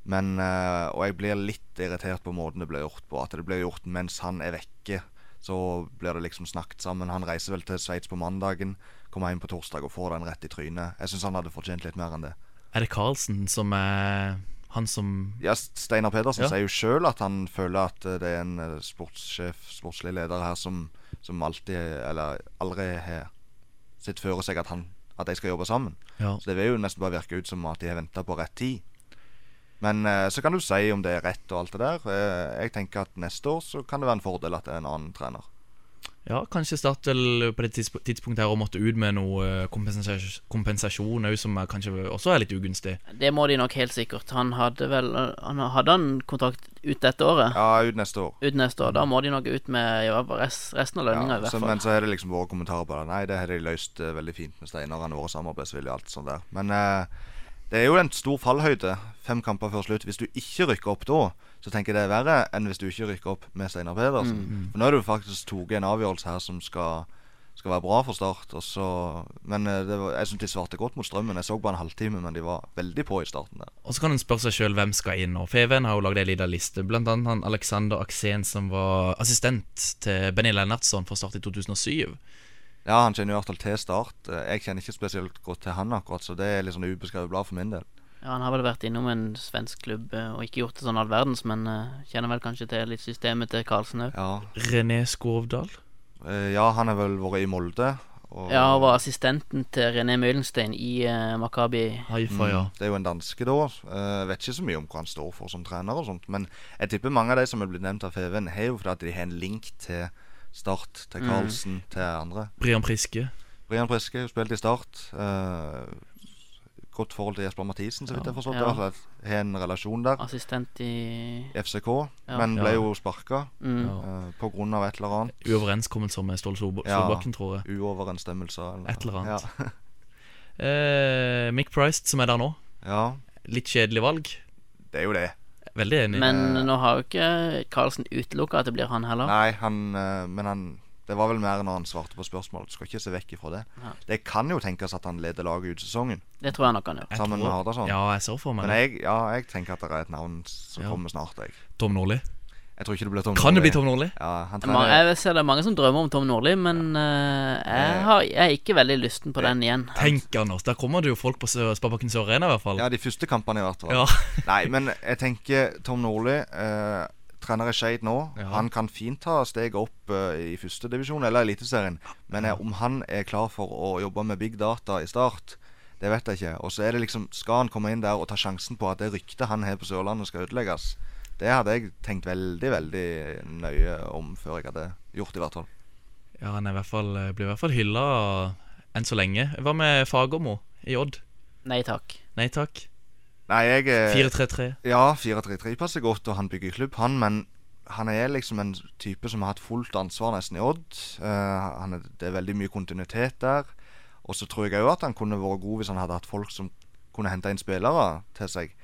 [SPEAKER 3] Men, eh, og jeg blir litt irritert på måten det blir gjort på. At det blir gjort mens han er vekke. Så blir det liksom snakket sammen. Han reiser vel til Sveits på mandagen, kommer hjem på torsdag og får den rett i trynet. Jeg syns han hadde fortjent litt mer enn det.
[SPEAKER 2] Er det Karlsen som er han som
[SPEAKER 3] Ja, Steinar Pedersen
[SPEAKER 2] Ja.
[SPEAKER 3] sier jo sjøl at han føler at eh, det er en eh, sportssjef, sportslig leder her, som, som alltid, eller aldri har sett føre seg at, han, at de skal jobbe sammen.
[SPEAKER 2] Ja.
[SPEAKER 3] Så det vil jo nesten bare virke ut som at de har venta på rett tid. Men eh, så kan du si om det er rett og alt det der. Eh, jeg tenker at neste år så kan det være en fordel at det er en annen trener.
[SPEAKER 2] Ja, kanskje Statoil på det tidsp- tidspunktet her og måtte ut med noe eh, kompensasj- kompensasjon òg, som er kanskje også er litt ugunstig.
[SPEAKER 5] Det må de nok helt sikkert. Han hadde vel han, Hadde han kontrakt ut dette året?
[SPEAKER 3] Ja, ut neste år.
[SPEAKER 5] Ut neste år? Da må de nok ut med ja, rest, resten av lønninga, i
[SPEAKER 3] Ja,
[SPEAKER 5] hvert
[SPEAKER 3] så,
[SPEAKER 5] fall.
[SPEAKER 3] men så har det liksom vært kommentarer på det. Nei, det har de løst eh, veldig fint med Steinar. Han har vært samarbeidsvillig og alt sånt der. Men eh, det er jo en stor fallhøyde. Fem kamper før slutt. Hvis du ikke rykker opp da, så tenker jeg det er verre enn hvis du ikke rykker opp med Steinar
[SPEAKER 5] Mm,
[SPEAKER 3] Pedersen. For nå har du faktisk tatt en avgjørelse her som skal skal være bra for Start. Og så, men eh, det var, jeg syns de svarte godt mot strømmen. Jeg så bare en halvtime, men de var veldig på i starten der.
[SPEAKER 2] Og så kan en spørre seg sjøl hvem skal inn nå. Feven har jo lagd ei lita liste. Blant annet han Alexander Aksen, som var assistent til Benny Lennartson fra start i 2007.
[SPEAKER 3] Ja, han kjenner jo i hvert fall til Start. Eh, Jeg kjenner ikke spesielt godt til han akkurat, så det er litt sånn ubeskrevet blad for min del.
[SPEAKER 5] Ja, han har vel vært innom en svensk klubb eh, og ikke gjort det sånn all verdens, men eh, kjenner vel kanskje til litt systemet til Karlsen òg.
[SPEAKER 3] Ja,
[SPEAKER 2] René Skovdal.
[SPEAKER 3] Eh, ja, han har vel vært i Molde. Og
[SPEAKER 5] Ja, og var assistenten til René Møhlenstein i eh, Makabi.
[SPEAKER 2] Haifa, ja.
[SPEAKER 3] Det er jo en danske, da. Eh, vet ikke så mye om hva han står for som trener og sånt. Men jeg tipper mange av de som er blitt nevnt av Feven, har jo fordi at de har en link til Start, til Karlsen, til andre.
[SPEAKER 2] Brian Priske.
[SPEAKER 3] Brian Priske spilte i Start. eh, godt forhold til Jesper Mathisen, så vidt jeg har forstått.
[SPEAKER 5] Ja.
[SPEAKER 3] I hvert fall Har en relasjon der.
[SPEAKER 5] Assistent i
[SPEAKER 3] i FCK,
[SPEAKER 5] Ja.
[SPEAKER 3] men ble
[SPEAKER 2] Ja.
[SPEAKER 3] jo sparka
[SPEAKER 5] mm.
[SPEAKER 2] Ja.
[SPEAKER 3] på grunn av et eller annet.
[SPEAKER 2] Uoverenskommelser med Ståle Solb-
[SPEAKER 3] Ja.
[SPEAKER 2] Solbakken, tror jeg.
[SPEAKER 3] Uoverensstemmelser. Eller,
[SPEAKER 2] Et eller annet.
[SPEAKER 3] Ja.
[SPEAKER 2] Eh, Mick Price, som er der nå.
[SPEAKER 3] ja,
[SPEAKER 2] Litt kjedelig valg.
[SPEAKER 3] det er jo det.
[SPEAKER 2] Veldig enig.
[SPEAKER 5] Men eh, nå har jo ikke Karlsen utelukka at det blir han heller.
[SPEAKER 3] Nei, han, eh, men han Det var vel mer når han svarte på spørsmål. Du skal ikke se vekk ifra det.
[SPEAKER 5] Ja.
[SPEAKER 3] Det kan jo tenkes at han leder laget ut sesongen
[SPEAKER 5] Det tror jeg nok han gjør.
[SPEAKER 2] Jeg
[SPEAKER 3] sammen med
[SPEAKER 2] tror-
[SPEAKER 3] Hardasson.
[SPEAKER 2] Ja, jeg ser for meg
[SPEAKER 3] Men
[SPEAKER 2] det.
[SPEAKER 3] jeg, ja, jeg tenker at det er et navn som
[SPEAKER 2] Ja.
[SPEAKER 3] kommer snart. Jeg.
[SPEAKER 2] Tom Nordli.
[SPEAKER 3] jeg tror ikke det blir Tom
[SPEAKER 2] Kan det
[SPEAKER 3] Nordli.
[SPEAKER 2] bli Tom Nordli?
[SPEAKER 3] Ja, han
[SPEAKER 5] Ma-
[SPEAKER 3] trener,
[SPEAKER 5] Jeg ser det er mange som drømmer om Tom Nordli, men eh, jeg, har, jeg er ikke veldig lysten på den igjen.
[SPEAKER 2] Tenk, Anders. Der kommer det jo folk på Sø- Sparebanken Sør Arena, i hvert fall.
[SPEAKER 3] ja, de første kampene i hvert fall.
[SPEAKER 2] Ja. (laughs)
[SPEAKER 3] Nei, men jeg tenker Tom Nordli eh, Trener i Skeid nå.
[SPEAKER 2] Ja.
[SPEAKER 3] Han kan fint ta steget opp eh, i førstedivisjon eller Eliteserien. Men eh, om han er klar for å jobbe med big data i start, det vet jeg ikke. Og så er det liksom Skal han komme inn der og ta sjansen på at det ryktet han har på Sørlandet, skal ødelegges? Det hadde jeg tenkt veldig, veldig nøye om før jeg hadde gjort det, i hvert fall.
[SPEAKER 2] Ja, han er i hvert fall, eh, blir i hvert fall hylla enn så lenge. Hva med Fagermo i Odd?
[SPEAKER 5] Nei takk.
[SPEAKER 2] Nei takk.
[SPEAKER 3] Nei, jeg eh,
[SPEAKER 2] 4-3-3.
[SPEAKER 3] Ja, 4-3-3 passer godt, og han bygger klubb, han, men han er liksom en type som har hatt fullt ansvar nesten i Odd. Eh, han er, det er veldig mye kontinuitet der. Og så tror jeg òg at han kunne vært god hvis han hadde hatt folk som kunne hente inn spillere til seg.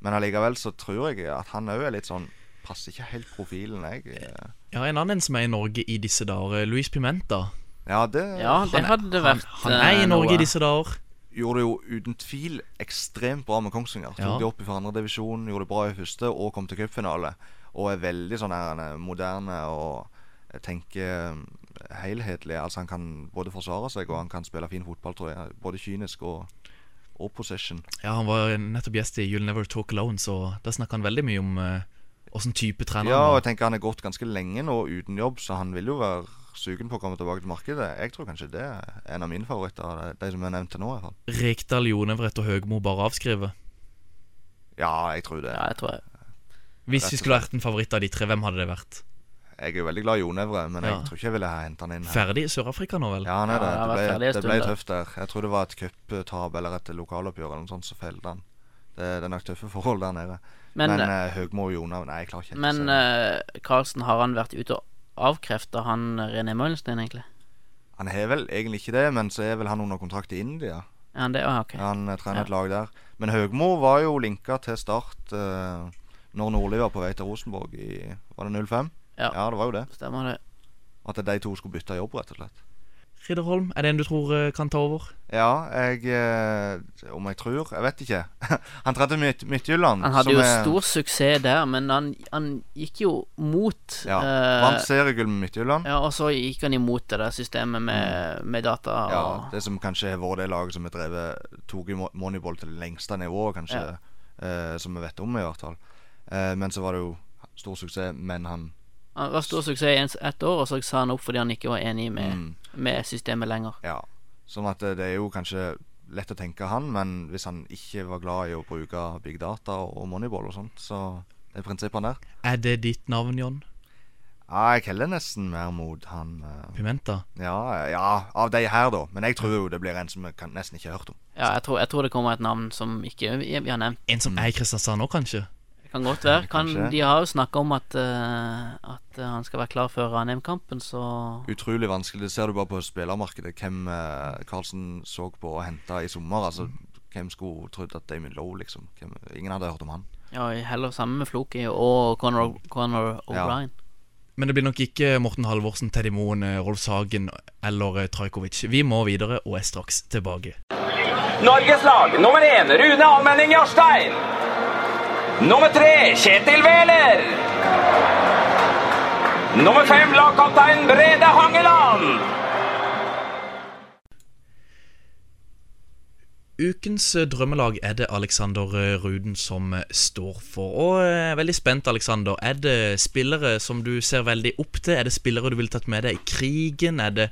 [SPEAKER 3] Men allikevel så tror jeg at han òg er litt sånn Passer ikke helt profilen, jeg. Eh,
[SPEAKER 2] Ja, en annen som er i Norge i disse dager, Luis Pimenta.
[SPEAKER 3] Ja, det
[SPEAKER 5] Ja, det
[SPEAKER 2] er-
[SPEAKER 5] hadde vært
[SPEAKER 2] Han er
[SPEAKER 5] eh,
[SPEAKER 2] i Norge
[SPEAKER 5] noe.
[SPEAKER 2] i disse dager.
[SPEAKER 3] gjorde det jo uten tvil ekstremt bra med Kongsvinger. Tok
[SPEAKER 2] Ja.
[SPEAKER 3] det opp i andredivisjon, gjorde det bra i første og kom til cupfinale. Og er veldig sånn her eh, moderne og jeg tenker eh, helhetlig. Altså han kan både forsvare seg og han kan spille fin fotball, tror jeg. Både kynisk og, og possession.
[SPEAKER 2] Ja, Han var nettopp gjest i You'll Never Talk Alone, så der snakka han veldig mye om eh, åssen type trener
[SPEAKER 3] Ja, og
[SPEAKER 2] han var.
[SPEAKER 3] jeg tenker han har gått ganske lenge nå uten jobb, så han vil jo være sugen på å komme tilbake til markedet. Jeg tror kanskje det er en av mine favoritter, av de som jeg nevnte nå. i hvert fall.
[SPEAKER 2] Rekdal, Jonevret og Høgmo bare avskrevet.
[SPEAKER 3] Ja, jeg tror det.
[SPEAKER 5] Ja, jeg tror jeg
[SPEAKER 2] Hvis vi skulle vært en favoritt av de tre, hvem hadde det vært?
[SPEAKER 3] Jeg er jo veldig glad i Jon Evre, men
[SPEAKER 2] Ja.
[SPEAKER 3] jeg tror ikke jeg ville ha hentet han inn her.
[SPEAKER 2] Ferdig i Sør-Afrika nå, vel?
[SPEAKER 3] Ja, han er
[SPEAKER 5] Ja,
[SPEAKER 3] det.
[SPEAKER 5] han har
[SPEAKER 3] Det
[SPEAKER 5] vært ferdig
[SPEAKER 3] ble,
[SPEAKER 5] en
[SPEAKER 3] det
[SPEAKER 5] stund
[SPEAKER 3] ble
[SPEAKER 5] der.
[SPEAKER 3] tøft der. Jeg tror det var et cuptap eller et lokaloppgjør eller noe sånt som felte han. Det, det er nok tøffe forhold der nede.
[SPEAKER 5] Men,
[SPEAKER 3] Men, eh, Høgmo og Jonav Nei, jeg klarer ikke. helt å
[SPEAKER 5] men
[SPEAKER 3] se det.
[SPEAKER 5] eh, Carlsen, har han vært ute og avkrefta han eh, René Møhlenstein, egentlig?
[SPEAKER 3] han har vel egentlig ikke det, men så er vel han under kontrakt i India.
[SPEAKER 5] Er han det? Å, ja, ok.
[SPEAKER 3] Han eh, trener et
[SPEAKER 5] Ja.
[SPEAKER 3] lag der. Men Høgmo var jo linka til start eh, når Nordli var på vei til Rosenborg i Var det 05?
[SPEAKER 5] Ja.
[SPEAKER 3] det var jo det.
[SPEAKER 5] Stemmer det.
[SPEAKER 3] At de to skulle bytte jobb, rett og slett.
[SPEAKER 2] Ridderholm, er det en du tror eh, kan ta over?
[SPEAKER 3] Ja, jeg eh, Om jeg tror? Jeg vet ikke. (laughs) han tredde Midt Midtjylland.
[SPEAKER 5] Han hadde
[SPEAKER 3] som
[SPEAKER 5] jo
[SPEAKER 3] er-
[SPEAKER 5] stor suksess der, men han, han gikk jo mot
[SPEAKER 3] Ja.
[SPEAKER 5] eh,
[SPEAKER 3] Vant seriegull med Midtjylland.
[SPEAKER 5] ja, Og så gikk han imot det der systemet med, med data.
[SPEAKER 3] Ja.
[SPEAKER 5] Og,
[SPEAKER 3] det som kanskje har vært det laget som har drevet tok i Mo- Moneyball til det lengste nivået, kanskje.
[SPEAKER 5] Ja.
[SPEAKER 3] eh, som vi vet om, i hvert fall. Eh, men så var det jo stor suksess, men han
[SPEAKER 5] Han var stor suksess i ens- ett år, og så sa han opp fordi han ikke var enig med, med systemet lenger.
[SPEAKER 3] Ja. Sånn at eh, det er jo kanskje lett å tenke han, men hvis han ikke var glad i å bruke big data og Moneyball og sånt, så er prinsippene der.
[SPEAKER 2] Er det ditt navn, John?
[SPEAKER 3] Ja, jeg heller nesten mer mot han eh,
[SPEAKER 2] Pimenta?
[SPEAKER 3] Ja, ja, av de her, da. Men jeg tror jo det blir en som vi kan, nesten ikke har hørt om.
[SPEAKER 5] Ja, jeg tror, jeg tror det kommer et navn som ikke vi vi har nevnt.
[SPEAKER 2] En som er i Kristiansand nå, kanskje?
[SPEAKER 5] Det kan godt være. Kan,
[SPEAKER 3] Kanskje.
[SPEAKER 5] de har jo snakka om at, eh, at eh, han skal være klar før NM-kampen, så
[SPEAKER 3] Utrolig vanskelig. Det ser du bare på spillermarkedet. Hvem eh, Carlsen så på og henta i sommer. Altså, hvem skulle trodd at Damien Lowe, liksom. Hvem, ingen hadde hørt om han.
[SPEAKER 5] Ja, heller sammen med Floki og Conor, Conor O'Brien.
[SPEAKER 2] Men det blir nok ikke Morten Halvorsen, Teddy Moen, eh, Rolf Sagen eller eh, Trajkovic. Vi må videre og er straks tilbake.
[SPEAKER 7] Norges lag nummer én Rune Almenning Jarstein. Nummer tre Kjetil Wæler. Nummer fem lagkaptein Brede Hangeland.
[SPEAKER 2] Ukens eh, drømmelag er det Alexander eh, Ruden som eh, står for. Og eh, jeg er veldig spent, Alexander. Er det spillere som du ser veldig opp til? Er det spillere du ville tatt med deg i krigen? Er det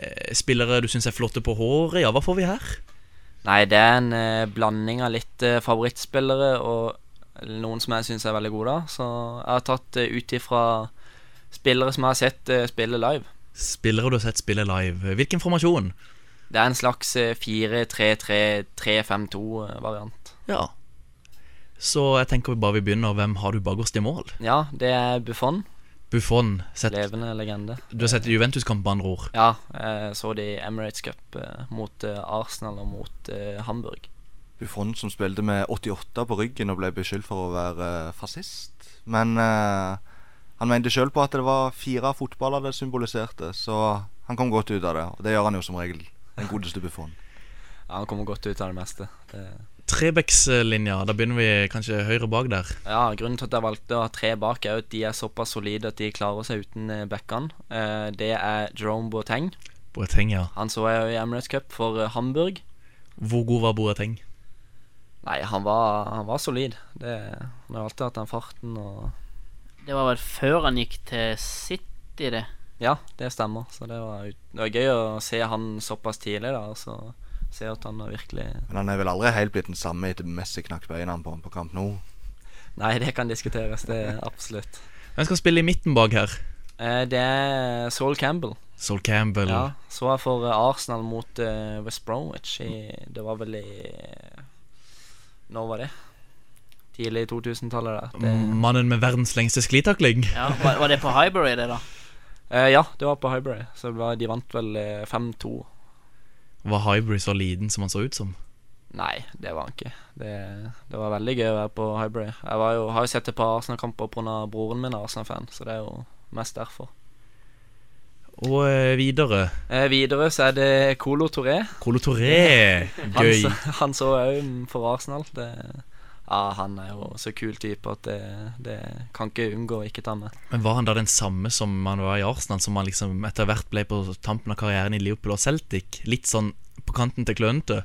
[SPEAKER 2] eh, spillere du syns er flotte på håret? Ja, hva får vi her?
[SPEAKER 4] Nei, det er en eh, blanding av litt eh, favorittspillere og noen som jeg syns er veldig gode. da Så jeg har tatt eh, ut ifra spillere som jeg har sett eh, spille live.
[SPEAKER 2] Spillere du har sett spille live. Hvilken formasjon?
[SPEAKER 4] Det er en slags eh, 4-3-3-3-5-2-variant.
[SPEAKER 2] Ja. Så jeg tenker vi bare vi begynner. Hvem har du bakerst i mål?
[SPEAKER 4] Ja, det er Buffon.
[SPEAKER 2] Buffon. Sett,
[SPEAKER 4] Levende legende.
[SPEAKER 2] du har sett Juventus-kamp, med andre ord.
[SPEAKER 4] Ja, jeg så det i Emirates Cup eh, mot eh, Arsenal og mot eh, Hamburg.
[SPEAKER 3] Buffon som spilte med 88 på ryggen og ble beskyldt for å være eh, fascist. Men eh, han mente sjøl på at det var fire fotballer det symboliserte, så han kom godt ut av det. Og det gjør han jo som regel. Den godeste Buffon.
[SPEAKER 4] Ja, han kommer godt ut av det meste. Det,
[SPEAKER 2] Trebekslinja. Da begynner vi kanskje høyre bak der.
[SPEAKER 4] ja, Grunnen til at jeg valgte å ha tre bak, er jo at de er såpass solide at de klarer seg uten eh, backene. Eh, Det er Jerome Boateng.
[SPEAKER 2] Boateng, ja.
[SPEAKER 4] Han så jeg jo i Emirates Cup for eh, Hamburg.
[SPEAKER 2] Hvor god var Boateng?
[SPEAKER 4] Nei, han var, han var solid. Det, han har alltid hatt den farten og
[SPEAKER 5] Det var vel før han gikk til City, det.
[SPEAKER 4] Ja, det stemmer. Så det var, ut- det var gøy å se han såpass tidlig, da. Og så se at han har virkelig
[SPEAKER 3] Men han er vel aldri helt blitt den samme etter Messi knakk beina på ham på kamp nå.
[SPEAKER 4] Nei, det kan diskuteres, det er absolutt.
[SPEAKER 2] Hvem skal spille i midten bak her?
[SPEAKER 4] Eh, Det er Saul Campbell.
[SPEAKER 2] Sol Campbell.
[SPEAKER 4] Ja, så jeg for eh, Arsenal mot eh, West Bromwich i Det var vel i Når var det? Tidlig i 2000-tallet, da. Det,
[SPEAKER 2] Mannen med verdens lengste sklitakling.
[SPEAKER 5] Ja, var, var det på Highbury, det, da?
[SPEAKER 4] eh, ja, det var på Highbury. Så det var, de vant vel eh, 5-2.
[SPEAKER 2] Var Hybrid så liten som han så ut som?
[SPEAKER 4] Nei, det var han ikke. Det, det var veldig gøy å være på Highbury. Jeg var jo, har jo sett et par Arsenal-kamper pga. broren min er Arsenal-fan, så det er jo mest derfor.
[SPEAKER 2] Og eh, videre
[SPEAKER 4] Eh, videre så er det Colo Touré.
[SPEAKER 2] Colo Touré.
[SPEAKER 4] (laughs) Han,
[SPEAKER 2] Gøy.
[SPEAKER 4] så- han så òg for Arsenal. Det, ja, han er jo så kul type at det, det kan ikke unngå å ikke ta med.
[SPEAKER 2] Men var han da den samme som han var i Arsenal, som han liksom etter hvert ble på tampen av karrieren i Liverpool og Celtic? Litt sånn på kanten til klønete?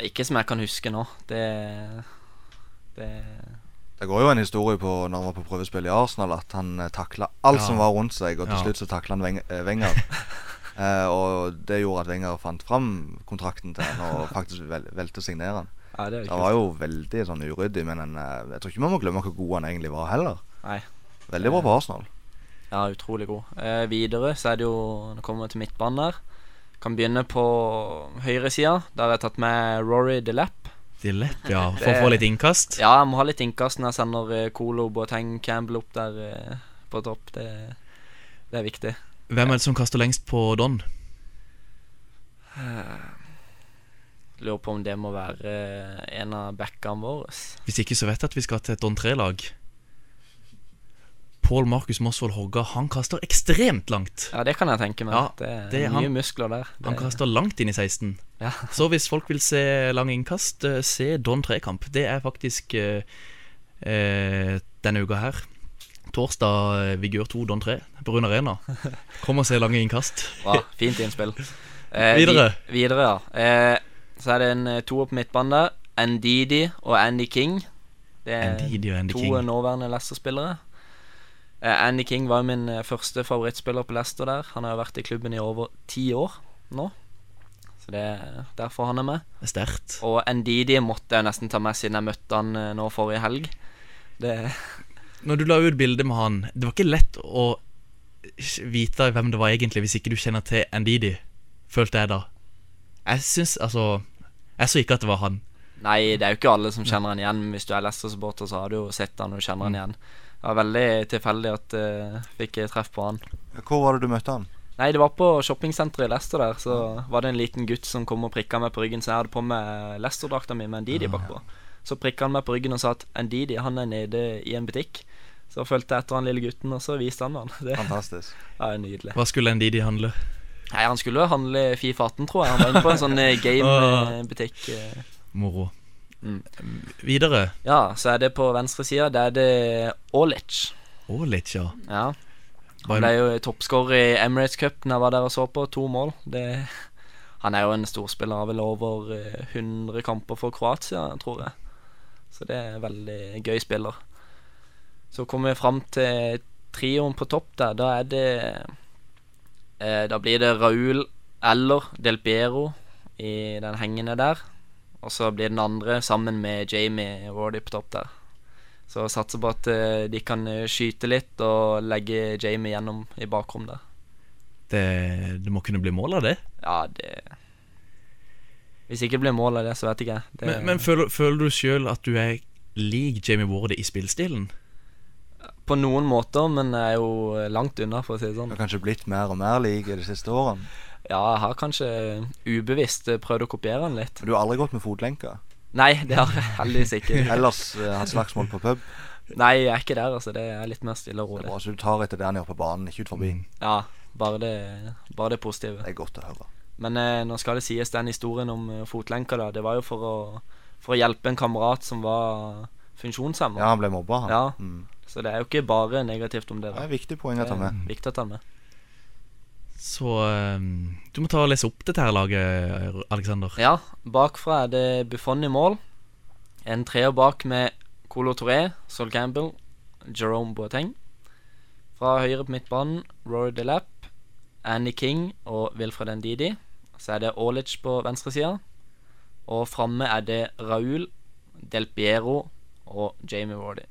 [SPEAKER 4] Ikke som jeg kan huske nå. Det, det
[SPEAKER 3] Det går jo en historie på når han var på prøvespill i Arsenal, at han takla alt
[SPEAKER 2] Ja.
[SPEAKER 3] som var rundt seg, og til
[SPEAKER 2] Ja.
[SPEAKER 3] slutt så takla han Weng- eh,
[SPEAKER 4] (laughs)
[SPEAKER 3] Wenger. Eh, og det gjorde at Wenger fant fram kontrakten til han og faktisk vel, velte å signere han.
[SPEAKER 4] Ja, det er jo
[SPEAKER 3] Han
[SPEAKER 4] kult.
[SPEAKER 3] var jo veldig sånn uryddig, men han, eh, jeg tror ikke vi må glemme hvor god han egentlig var heller.
[SPEAKER 4] Nei.
[SPEAKER 3] Veldig bra på Arsenal.
[SPEAKER 4] Ja, utrolig god. Eh, videre så er det jo Nå kommer vi til midtbanen der. Kan begynne på høyresida. Der har jeg tatt med Rory Delap.
[SPEAKER 2] Dillep,
[SPEAKER 4] (laughs)
[SPEAKER 2] ja. For å få litt innkast?
[SPEAKER 4] Ja, jeg må ha litt innkast når jeg sender eh, Colo Boateng Campbell opp der eh, på topp. Det, det er viktig.
[SPEAKER 2] Hvem er det som kaster lengst på Don?
[SPEAKER 4] Lurer på om det må være eh, en av backene våre.
[SPEAKER 2] Hvis ikke så vet jeg at vi skal til et Don 3-lag. Pål Markus Mosvold Hogga, han kaster ekstremt langt.
[SPEAKER 4] Ja, det kan jeg tenke meg.
[SPEAKER 2] Ja,
[SPEAKER 4] det er
[SPEAKER 2] det-
[SPEAKER 4] mye
[SPEAKER 2] han-
[SPEAKER 4] muskler der.
[SPEAKER 2] Han
[SPEAKER 4] Det-
[SPEAKER 2] kaster langt inn i 16.
[SPEAKER 4] Ja.
[SPEAKER 2] Så hvis folk vil se lang innkast, eh, se Don 3-kamp. Det er faktisk eh, eh, denne uka her. Torsdag eh, Vigør 2 Don 3 på Rune Arena. Kom og se lange innkast.
[SPEAKER 4] Bra, fint innspill.
[SPEAKER 2] (laughs)
[SPEAKER 4] Eh,
[SPEAKER 2] Videre.
[SPEAKER 4] Vi, videre, ja. Eh, så er det en eh, toer på midtbanen der. Ndidi og Andy King. Det er
[SPEAKER 2] Ndidi og Andy
[SPEAKER 4] to
[SPEAKER 2] King.
[SPEAKER 4] eh, nåværende Leicester-spillere. Eh, Andy King var jo min eh, første favorittspiller på Leicester der. Han har jo vært i klubben i over ti år nå. Så det er derfor han er med.
[SPEAKER 2] Det er sterkt.
[SPEAKER 4] Og Ndidi måtte jeg nesten ta med siden jeg møtte han eh, nå forrige helg. Det,
[SPEAKER 2] Når du la ut bilde med han, det var ikke lett å vite hvem det var egentlig, hvis ikke du kjenner til Ndidi, følte jeg da. Jeg syns altså Jeg så ikke at det var han.
[SPEAKER 4] Nei, det er jo ikke alle som kjenner han igjen. men Hvis du er Leicester-supporter, så har du jo sett han og kjenner han igjen. Det var veldig tilfeldig at jeg fikk treff på han.
[SPEAKER 3] Hvor var det du møtte han?
[SPEAKER 4] Nei, det var på shoppingsenteret i Leicester der, så var det en liten gutt som kom og prikka meg på ryggen, så jeg hadde på meg Leicester-drakta mi med Ndidi bakpå. Så prikka han meg på ryggen og sa at Ndidi, han er nede i en butikk. Så fulgte jeg etter han lille gutten, og så viste han meg han. (laughs) Det
[SPEAKER 3] Fantastisk.
[SPEAKER 4] er jo nydelig.
[SPEAKER 2] Hva skulle Ndidi handle?
[SPEAKER 4] Nei, han skulle handle Fifa 18, tror jeg. Han var inne på en sånn (laughs) eh, game-butikk. eh.
[SPEAKER 2] Moro.
[SPEAKER 4] Mm.
[SPEAKER 2] Videre.
[SPEAKER 4] Ja, så er det på venstre sida, der er det Olic.
[SPEAKER 2] Å, litt, ja.
[SPEAKER 4] Ja.
[SPEAKER 2] Var
[SPEAKER 4] Han ble
[SPEAKER 2] en,
[SPEAKER 4] jo toppskårer i Emirates Cup når jeg var der og så på. To mål. Det, han er jo en storspiller. Har vel over eh, 100 kamper for Kroatia, tror jeg. Så det er en veldig gøy spiller. Så kommer vi fram til trioen på topp der. Da er det eh, Da blir det Raúl eller Del Piero i den hengende der. Og så blir den andre sammen med Jamie Wardy på topp der. Så jeg satser på at eh, de kan eh, skyte litt og legge Jamie gjennom i bakrom der.
[SPEAKER 2] det, det må kunne bli mål av det.
[SPEAKER 4] Ja, det Hvis ikke det blir mål av det, så vet ikke jeg. Det,
[SPEAKER 2] Men, men føler, føler du sjøl at du er lik Jamie Wardy i spillestilen?
[SPEAKER 4] På noen måter, men jeg er jo langt unna, for å si det
[SPEAKER 3] Du
[SPEAKER 4] sånn.
[SPEAKER 3] har kanskje blitt mer og mer lik de siste årene.
[SPEAKER 4] Ja, jeg har kanskje ubevisst eh, prøvd å kopiere han litt.
[SPEAKER 3] Men du har aldri gått med
[SPEAKER 4] (laughs)
[SPEAKER 3] fotlenke.
[SPEAKER 4] Nei, det har jeg heldigvis
[SPEAKER 3] (laughs)
[SPEAKER 4] ikke.
[SPEAKER 3] Ellers eh, hatt slagsmål på
[SPEAKER 4] (laughs)
[SPEAKER 3] pub.
[SPEAKER 4] Nei, jeg er ikke der, altså. Det er litt mer stille og
[SPEAKER 3] Det er
[SPEAKER 4] rolig.
[SPEAKER 3] bra, så du tar etter det han gjør på banen, ikke ut forbi.
[SPEAKER 4] Ja, bare det, bare det positive.
[SPEAKER 3] Det er godt å høre.
[SPEAKER 4] Men eh, nå skal det sies den historien om eh, fotlenka, da. Det var jo for å, for å hjelpe en kamerat som var funksjonshemma.
[SPEAKER 3] Ja, han ble mobba, han.
[SPEAKER 4] Ja.
[SPEAKER 3] Mm.
[SPEAKER 4] Så det er jo ikke bare negativt om det.
[SPEAKER 3] Det er
[SPEAKER 4] da.
[SPEAKER 3] et viktig poeng å ta
[SPEAKER 4] Det er
[SPEAKER 3] med.
[SPEAKER 4] Viktig å ta med.
[SPEAKER 2] Så eh, du må ta og lese opp dette her laget, Aleksander.
[SPEAKER 4] Ja, bakfra er det Buffon i mål. En treer bak med Colo Touré, Sol Campbell, Jerome Boateng. Fra høyre på midtbanen Rory Delap, Annie King og Wilfred Ndidi. Så er det Olic på venstresida. Og framme er det Raúl, Del Piero og Jamie Wardy.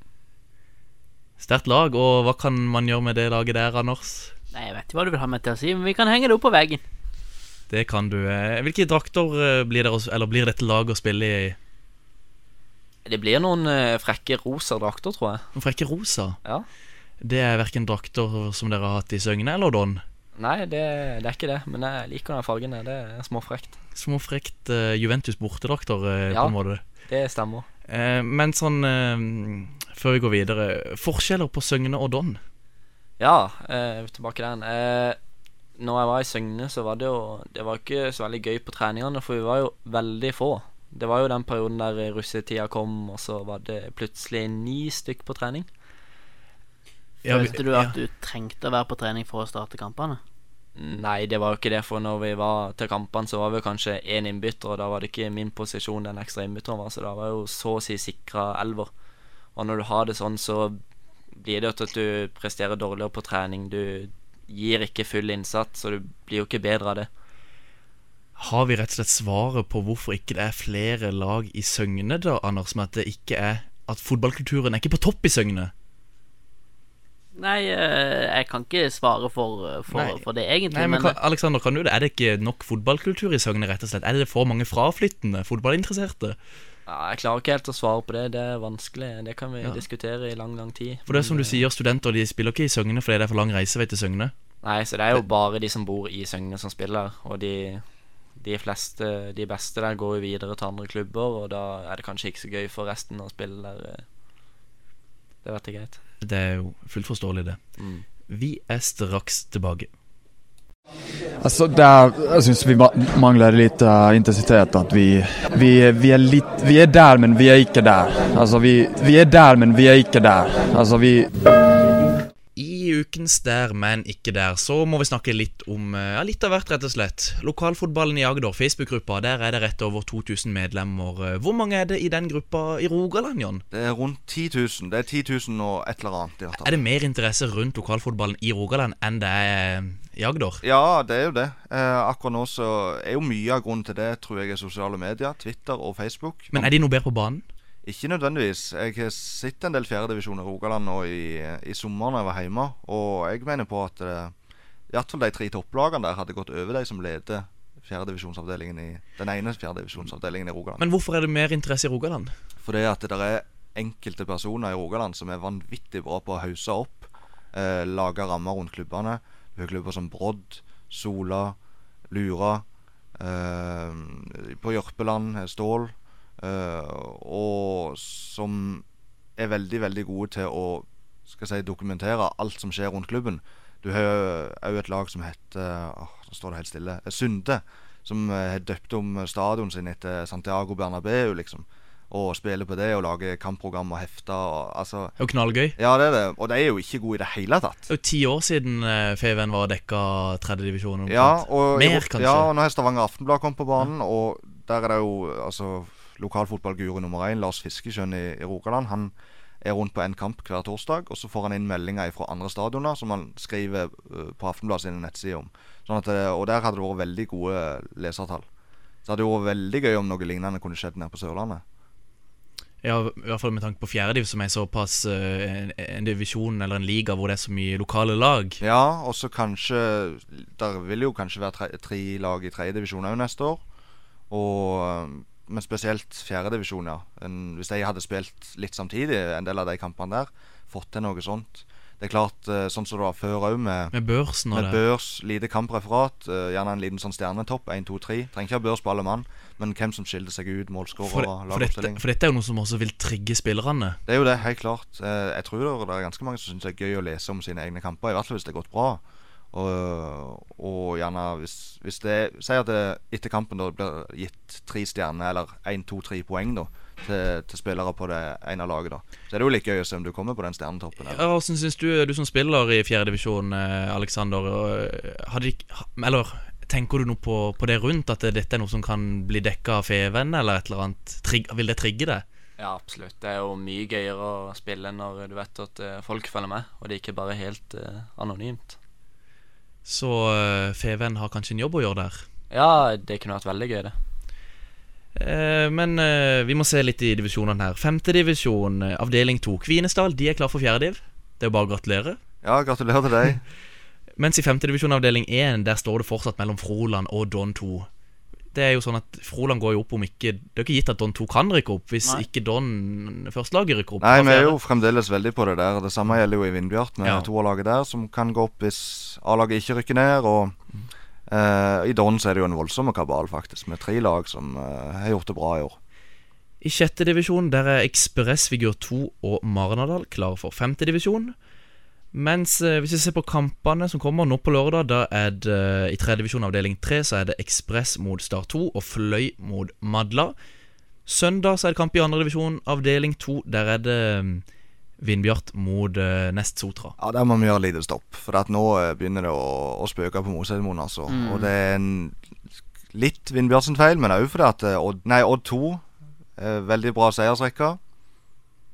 [SPEAKER 2] Sterkt lag, og hva kan man gjøre med det laget der, Anders?
[SPEAKER 5] Nei, jeg vet ikke hva du vil ha meg til å si, men vi kan henge det opp på veggen.
[SPEAKER 2] Det kan du. eh. Hvilke drakter eh, blir, dere, eller blir dette laget å spille i?
[SPEAKER 4] Det blir noen eh, frekke rosa drakter, tror jeg.
[SPEAKER 2] Noen frekke rosa.
[SPEAKER 4] Ja.
[SPEAKER 2] Det er verken drakter som dere har hatt i Søgne eller Don.
[SPEAKER 4] Nei, det, det er ikke det, men jeg liker den fargen. der, Det er småfrekt.
[SPEAKER 2] Småfrekt uh, Juventus bortedrakter, eh,
[SPEAKER 4] Ja.
[SPEAKER 2] på en måte.
[SPEAKER 4] Det stemmer.
[SPEAKER 2] Eh, men sånn eh, Før vi går videre Forskjeller på Søgne og Don.
[SPEAKER 4] Ja, eh, tilbake den. Eh, når jeg var i Søgne, så var det jo Det var ikke så veldig gøy på treningene, for vi var jo veldig få. Det var jo den perioden der eh, russetida kom, og så var det plutselig ni stykk på trening.
[SPEAKER 2] Ja, vi-
[SPEAKER 5] Følte du
[SPEAKER 2] ja.
[SPEAKER 5] at du trengte å være på trening for å starte kampene?
[SPEAKER 4] Nei, det var jo ikke det, for når vi var til kampene, så var vi kanskje én innbytter, og da var det ikke min posisjon den ekstra innbytteren var, så da var jeg jo så å si sikra elver. Og når du har det sånn, så blir det jo til at du presterer dårligere på trening. Du gir ikke full innsats, så du blir jo ikke bedre av det.
[SPEAKER 2] Har vi rett og slett svaret på hvorfor ikke det er flere lag i Søgne, da, Anders? Med at det ikke er At fotballkulturen er ikke på topp i Søgne?
[SPEAKER 5] Nei, eh, jeg kan ikke svare for, eh, for,
[SPEAKER 2] Nei.
[SPEAKER 5] for det, egentlig.
[SPEAKER 2] Nei, men
[SPEAKER 5] men
[SPEAKER 2] kan, Alexander, kan du det? Er det ikke nok fotballkultur i Søgne, rett og slett? Er det for mange fraflyttende fotballinteresserte?
[SPEAKER 4] Ja, jeg klarer ikke helt å svare på det. Det er vanskelig. Det kan vi
[SPEAKER 2] Ja.
[SPEAKER 4] diskutere i lang, lang tid.
[SPEAKER 2] For det er som
[SPEAKER 4] Men,
[SPEAKER 2] du sier, studenter de spiller ikke i Søgne fordi det er for lang reisevei til Søgne.
[SPEAKER 4] Nei, så det er jo bare de som bor i Søgne som spiller, og de, de fleste, de beste der går jo videre til andre klubber, og da er det kanskje ikke så gøy for resten å spille der. eh. Det vet jeg greit.
[SPEAKER 2] Det er jo fullt forståelig, det. Vi er straks tilbake.
[SPEAKER 10] Altså, det er, jeg syns vi ma- mangler litt eh, intensitet. At vi, vi, vi, er litt, vi er der, men vi er ikke der. Altså, vi, vi er der, men vi er ikke der. Altså, vi,
[SPEAKER 2] I ukens Der, men ikke der, så må vi snakke litt om eh, ja, litt av hvert, rett og slett. Lokalfotballen i Agder, Facebook-gruppa, der er det rett over 2000 medlemmer. Eh, Hvor mange er det i den gruppa i Rogaland, Jon?
[SPEAKER 3] Det er rundt 10 000. Det er 10 000 og et eller annet. i hvert fall.
[SPEAKER 2] Er det mer interesse rundt lokalfotballen i Rogaland enn det er eh, i Agder?
[SPEAKER 3] Ja, det er jo det. Eh, akkurat nå så er jo mye av grunnen til det, tror jeg, er sosiale medier. Twitter og Facebook.
[SPEAKER 2] Men er de noe bedre på banen?
[SPEAKER 3] Ikke nødvendigvis. Jeg har sett en del fjerdedivisjon i Rogaland nå i, i sommer når jeg var hjemme, og jeg mener på at eh, i hvert fall de tre topplagene der hadde gått over de som leder fjerdedivisjonsavdelingen i den ene fjerdedivisjonsavdelingen i Rogaland.
[SPEAKER 2] Men hvorfor er det mer interesse i Rogaland?
[SPEAKER 3] Fordi at det er enkelte personer i Rogaland som er vanvittig bra på å hause opp, eh, lage rammer rundt klubbene. Vi har klubber som Brodd, Sola, Lura, eh, på Jørpeland, eh, Stål. Eh, og som er veldig, veldig gode til å skal jeg si, dokumentere alt som skjer rundt klubben. Du har òg et lag som heter åh, Nå står det helt stille. eh, Sunde. Som eh, har døpt om stadion sin etter Santiago Bernabeu, liksom og spiller på det og lager kampprogram og hefter og altså
[SPEAKER 2] Det er jo knallgøy.
[SPEAKER 3] Ja, det er det. Og de er jo ikke gode i det hele tatt.
[SPEAKER 2] Det er jo ti år siden eh, Feven var dekka tredjedivisjon.
[SPEAKER 3] Ja, og,
[SPEAKER 2] Mer, kanskje.
[SPEAKER 3] Ja, og nå har Stavanger Aftenblad kommet på banen, og der er det jo altså lokalfotballguru nummer én, Lars Fiskeskjønn i, i Rogaland. Han er rundt på en kamp hver torsdag, og så får han inn meldinger fra andre stadioner som han skriver eh, på Aftenbladet sine nettsider om. Sånn at, det- og der hadde det vært veldig gode lesertall. Så det hadde vært veldig gøy om noe lignende kunne skjedd nede på Sørlandet.
[SPEAKER 2] Ja, I hvert fall med tanke på fjerdediv, som er såpass eh, en, en divisjon eller en liga hvor det er så mye lokale lag.
[SPEAKER 3] Ja, og så kanskje Der vil jo kanskje være tre, tre lag i tredjedivisjon òg neste år. Og, øhm, men spesielt fjerdedivisjon, ja. En- Hvis de hadde spilt litt samtidig, en del av de kampene der, fått til noe sånt. Det er klart, eh, sånn som det var før òg, med,
[SPEAKER 2] Med børsen og
[SPEAKER 3] med
[SPEAKER 2] det.
[SPEAKER 3] børs, lite kampreferat, eh, gjerne en liten sånn stjernetopp, 1, 2, 3. Trenger ikke ha børs på alle mann, men hvem som skiller seg ut,
[SPEAKER 2] For,
[SPEAKER 3] målskårer,
[SPEAKER 2] det, for, dette,
[SPEAKER 3] lagoppstilling.
[SPEAKER 2] for dette er jo noe som også vil trigge spillerne.
[SPEAKER 3] Det er jo det, helt klart. Eh, Jeg tror det er ganske mange som syns det er gøy å lese om sine egne kamper, i hvert fall hvis det har gått bra. Og, og gjerne hvis, hvis det Si at det etter kampen da blir gitt tre stjerner, eller én, to, tre poeng, da, til, til spillere på det ene laget, da. Så er det jo like gøy å se om du kommer på den stjernetoppen. Eller.
[SPEAKER 2] Ja, Hvordan syns du, du som spiller i eh, fjerdedivisjon, Aleksander eh, Eller tenker du noe på, på det rundt, at det- dette er noe som kan bli dekka av Feven, eller et eller annet? Trigg, vil det trigge det?
[SPEAKER 4] Ja, absolutt. Det er jo mye gøyere å spille når du vet at eh, folk følger med, og det er ikke bare helt eh, anonymt.
[SPEAKER 2] Så eh, Feven har kanskje en jobb å gjøre der?
[SPEAKER 4] Ja, det kunne vært veldig gøy, det.
[SPEAKER 2] Eh, men eh, vi må se litt i divisjonene her. Femtedivisjon, eh, avdeling to. Kvinesdal de er klar for fjerdediv. Det er jo bare å gratulere.
[SPEAKER 3] Ja, gratulerer til deg.
[SPEAKER 2] Mens i femtedivisjon, avdeling én, der står det fortsatt mellom Froland og Don 2. Det er jo sånn at Froland går jo opp om ikke Det er ikke gitt at Don 2 kan rykke opp, hvis
[SPEAKER 5] Nei.
[SPEAKER 2] ikke Don førstelaget rykker opp.
[SPEAKER 3] Nei,
[SPEAKER 2] fra
[SPEAKER 3] vi er
[SPEAKER 2] fjerde.
[SPEAKER 3] jo fremdeles veldig på det der. Det samme gjelder jo i Vindbjart med
[SPEAKER 2] Ja.
[SPEAKER 3] toerlaget der, som kan gå opp hvis A-laget ikke rykker ned. Og eh, i Don så er det jo en voldsom kabal, faktisk, med tre lag som eh, har gjort det bra i år.
[SPEAKER 2] I sjette divisjon der er Ekspress Figur 2 og Marnardal klare for femte divisjon. Mens eh, hvis vi ser på kampene som kommer nå på lørdag, da er det eh, i tredje divisjon avdeling 3 så er det Ekspress mot Star 2 og Fløy mot Madla. Søndag så er det kamp i andre divisjon avdeling 2. Der er det mm, Vindbjart mot eh, Nest Sotra.
[SPEAKER 3] Ja, Der må vi gjøre et lite stopp. For at nå eh, begynner det å, å spøke på Moseidmoen. Altså.
[SPEAKER 5] Mm.
[SPEAKER 3] Og det er en litt Vindbjørnsen feil, men òg fordi at eh, Odd, nei, Odd 2 eh, Veldig bra seiersrekke.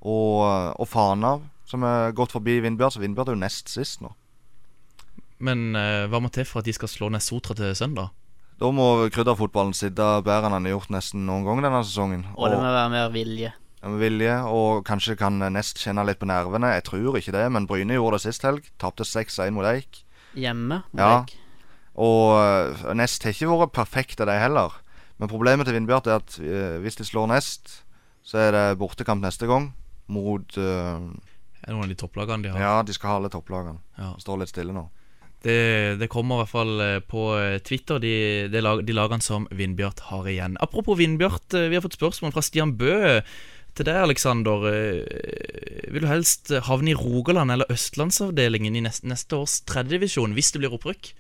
[SPEAKER 3] Og, og Fana, som er gått forbi Vindbjart. Så Vindbjart er jo nest sist nå.
[SPEAKER 2] Men eh, hva må til for at de skal slå Nest Sotra til søndag?
[SPEAKER 3] Da må krydderfotballen sitte bedre enn han har gjort nesten noen gang denne sesongen.
[SPEAKER 5] Og det må være mer vilje.
[SPEAKER 3] Ja, med vilje, og kanskje kan Nest kjenne litt på nervene. Jeg tror ikke det, men Bryne gjorde det sist helg. Tapte 6-1 mot Eik.
[SPEAKER 5] Hjemme. må
[SPEAKER 3] Ja.
[SPEAKER 5] jeg-
[SPEAKER 3] Og eh, Nest har ikke vært perfekte, de heller. Men problemet til Vindbjart er at eh, hvis de slår Nest, så er det bortekamp neste gang mot eh,
[SPEAKER 2] Er det noen av de topplagene de har?
[SPEAKER 3] Ja, de skal ha alle topplagene.
[SPEAKER 2] Ja.
[SPEAKER 3] Står litt stille nå.
[SPEAKER 2] Det, det kommer i hvert fall eh, på eh, Twitter, de, de, lag, de lagene som Vindbjart har igjen. Apropos Vindbjart, eh, vi har fått spørsmål fra Stian Bø eh, til deg, Aleksander. Eh, Vil du helst havne i Rogaland eller Østlandsavdelingen i neste, neste års tredjedivisjon hvis det blir opprykk?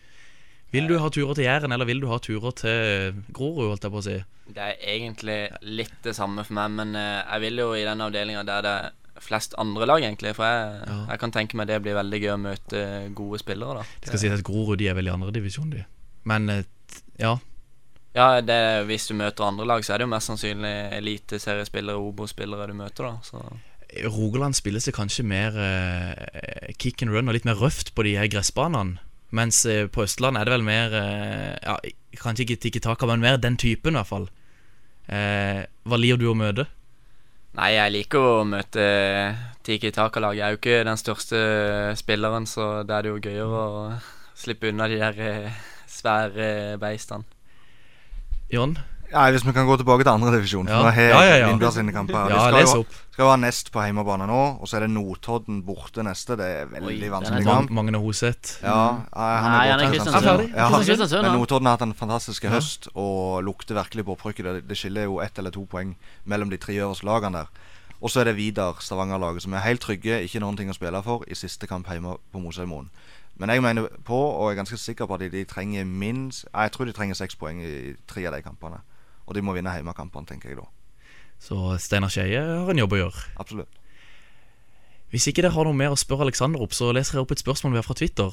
[SPEAKER 2] Vil du ha turer til Jæren, eller vil du ha turer til Grorud, holdt jeg på å si?
[SPEAKER 4] Det er egentlig litt det samme for meg, men eh, jeg vil jo i den avdelinga der det er flest andre lag, egentlig. For jeg,
[SPEAKER 2] Ja.
[SPEAKER 4] jeg kan tenke meg det blir veldig gøy å møte eh, gode spillere, da.
[SPEAKER 2] Det skal sies at Grorud de er vel i andre divisjon, de. Men eh, t- ja.
[SPEAKER 4] Ja, det, Hvis du møter andre lag, så er det jo mest sannsynlig eliteseriespillere, Obo-spillere du møter, da. Så
[SPEAKER 2] Rogaland spilles det kanskje mer eh, kick and run og litt mer røft på de her gressbanene. Mens eh, på Østlandet er det vel mer eh, ja, Kanskje ikke tikki-taka, men mer den typen, i hvert fall. Eh, hva liker du å møte?
[SPEAKER 4] Nei, jeg liker jo å møte Tiki Taka-laget. Jeg er jo ikke den største spilleren, så da er det jo gøyere å slippe unna de der eh, svære beistene.
[SPEAKER 2] Jon?
[SPEAKER 3] Ja, Hvis vi kan gå tilbake til andredivisjon.
[SPEAKER 2] Ja.
[SPEAKER 3] Ja.
[SPEAKER 2] Ja, ja, ja.
[SPEAKER 3] Vindbjørn sine kamper.
[SPEAKER 2] Ja,
[SPEAKER 3] vi
[SPEAKER 2] les
[SPEAKER 3] skal jo,
[SPEAKER 2] opp.
[SPEAKER 3] skal jo ha Nest på hjemmebane nå, og så er det Notodden borte neste. Det er
[SPEAKER 5] Oi,
[SPEAKER 3] veldig
[SPEAKER 5] den er
[SPEAKER 3] vanskelig
[SPEAKER 5] tung.
[SPEAKER 3] kamp.
[SPEAKER 2] Mag Magne Hoseth.
[SPEAKER 3] Ja, Mm. han
[SPEAKER 5] Nei,
[SPEAKER 3] er,
[SPEAKER 5] han er
[SPEAKER 3] gått til
[SPEAKER 5] Kristiansund.
[SPEAKER 2] Han er ferdig.
[SPEAKER 3] Ja.
[SPEAKER 5] Kristiansund,
[SPEAKER 3] Men
[SPEAKER 5] han.
[SPEAKER 3] Notodden har hatt en fantastisk høst og lukter virkelig på opprykket. Det, det skiller jo ett eller to poeng mellom de tre øverste lagene der. Og så er det Vidar, Stavanger-laget, som er helt trygge, ikke noen ting å spille for, i siste kamp hjemme på Mosheimoen. Men jeg mener på, og jeg er ganske sikker på at de, de trenger minst Nei, Jeg tror de trenger seks poeng i tre av de kampene. Og de må vinne hjemmekampene, tenker jeg da.
[SPEAKER 2] Så Steinar Skeie har en jobb å gjøre.
[SPEAKER 3] Absolutt.
[SPEAKER 2] Hvis ikke dere har noe mer å spørre Aleksander opp, så leser jeg opp et spørsmål vi har fra Twitter.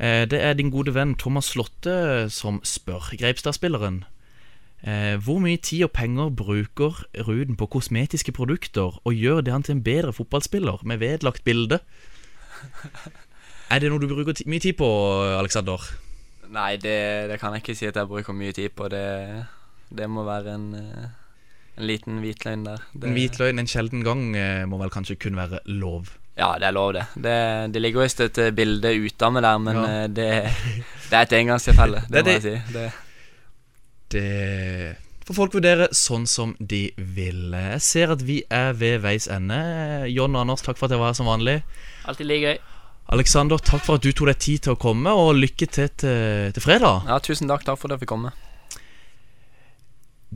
[SPEAKER 2] Eh, Det er din gode venn Thomas Slåtte som spør, Greipstad-spilleren. Eh, Hvor mye tid og penger bruker Ruden på kosmetiske produkter, og gjør det han til en bedre fotballspiller med vedlagt bilde? Er det noe du bruker ti mye tid på, Aleksander?
[SPEAKER 4] Nei, det, det kan jeg ikke si at jeg bruker mye tid på. Det, det må være en, eh, en liten hvitløgn der. Det,
[SPEAKER 2] En hvit løgn en sjelden gang eh, må vel kanskje kun være lov.
[SPEAKER 4] Ja, det er lov, det. Det, det ligger visst et eh, bilde utamme der, men
[SPEAKER 2] Ja.
[SPEAKER 4] eh, det, det er et engangstilfelle.
[SPEAKER 2] (laughs)
[SPEAKER 4] Det,
[SPEAKER 2] Det er
[SPEAKER 4] må jeg si. Det,
[SPEAKER 2] Det får eh, folk vurdere sånn som de vil. Jeg ser at vi er ved veis ende. John og Anders, takk for at jeg var her som vanlig.
[SPEAKER 5] Alltid like gøy.
[SPEAKER 2] Aleksander, takk for at du tok deg tid til å komme, og lykke til til, til fredag.
[SPEAKER 4] ja, tusen takk. Takk for at jeg fikk komme.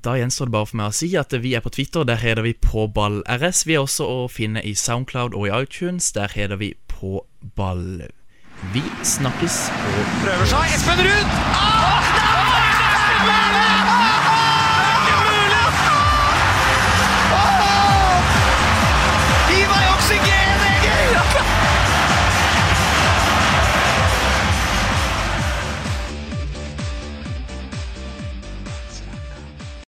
[SPEAKER 2] Da gjenstår det bare for meg å si at vi er på Twitter, der heter vi PåBallRS. Vi er også å finne i Soundcloud og i iTunes, der heter vi PåBall. Vi snakkes på
[SPEAKER 1] Prøver seg. Espen Ruud! Ah! Ah!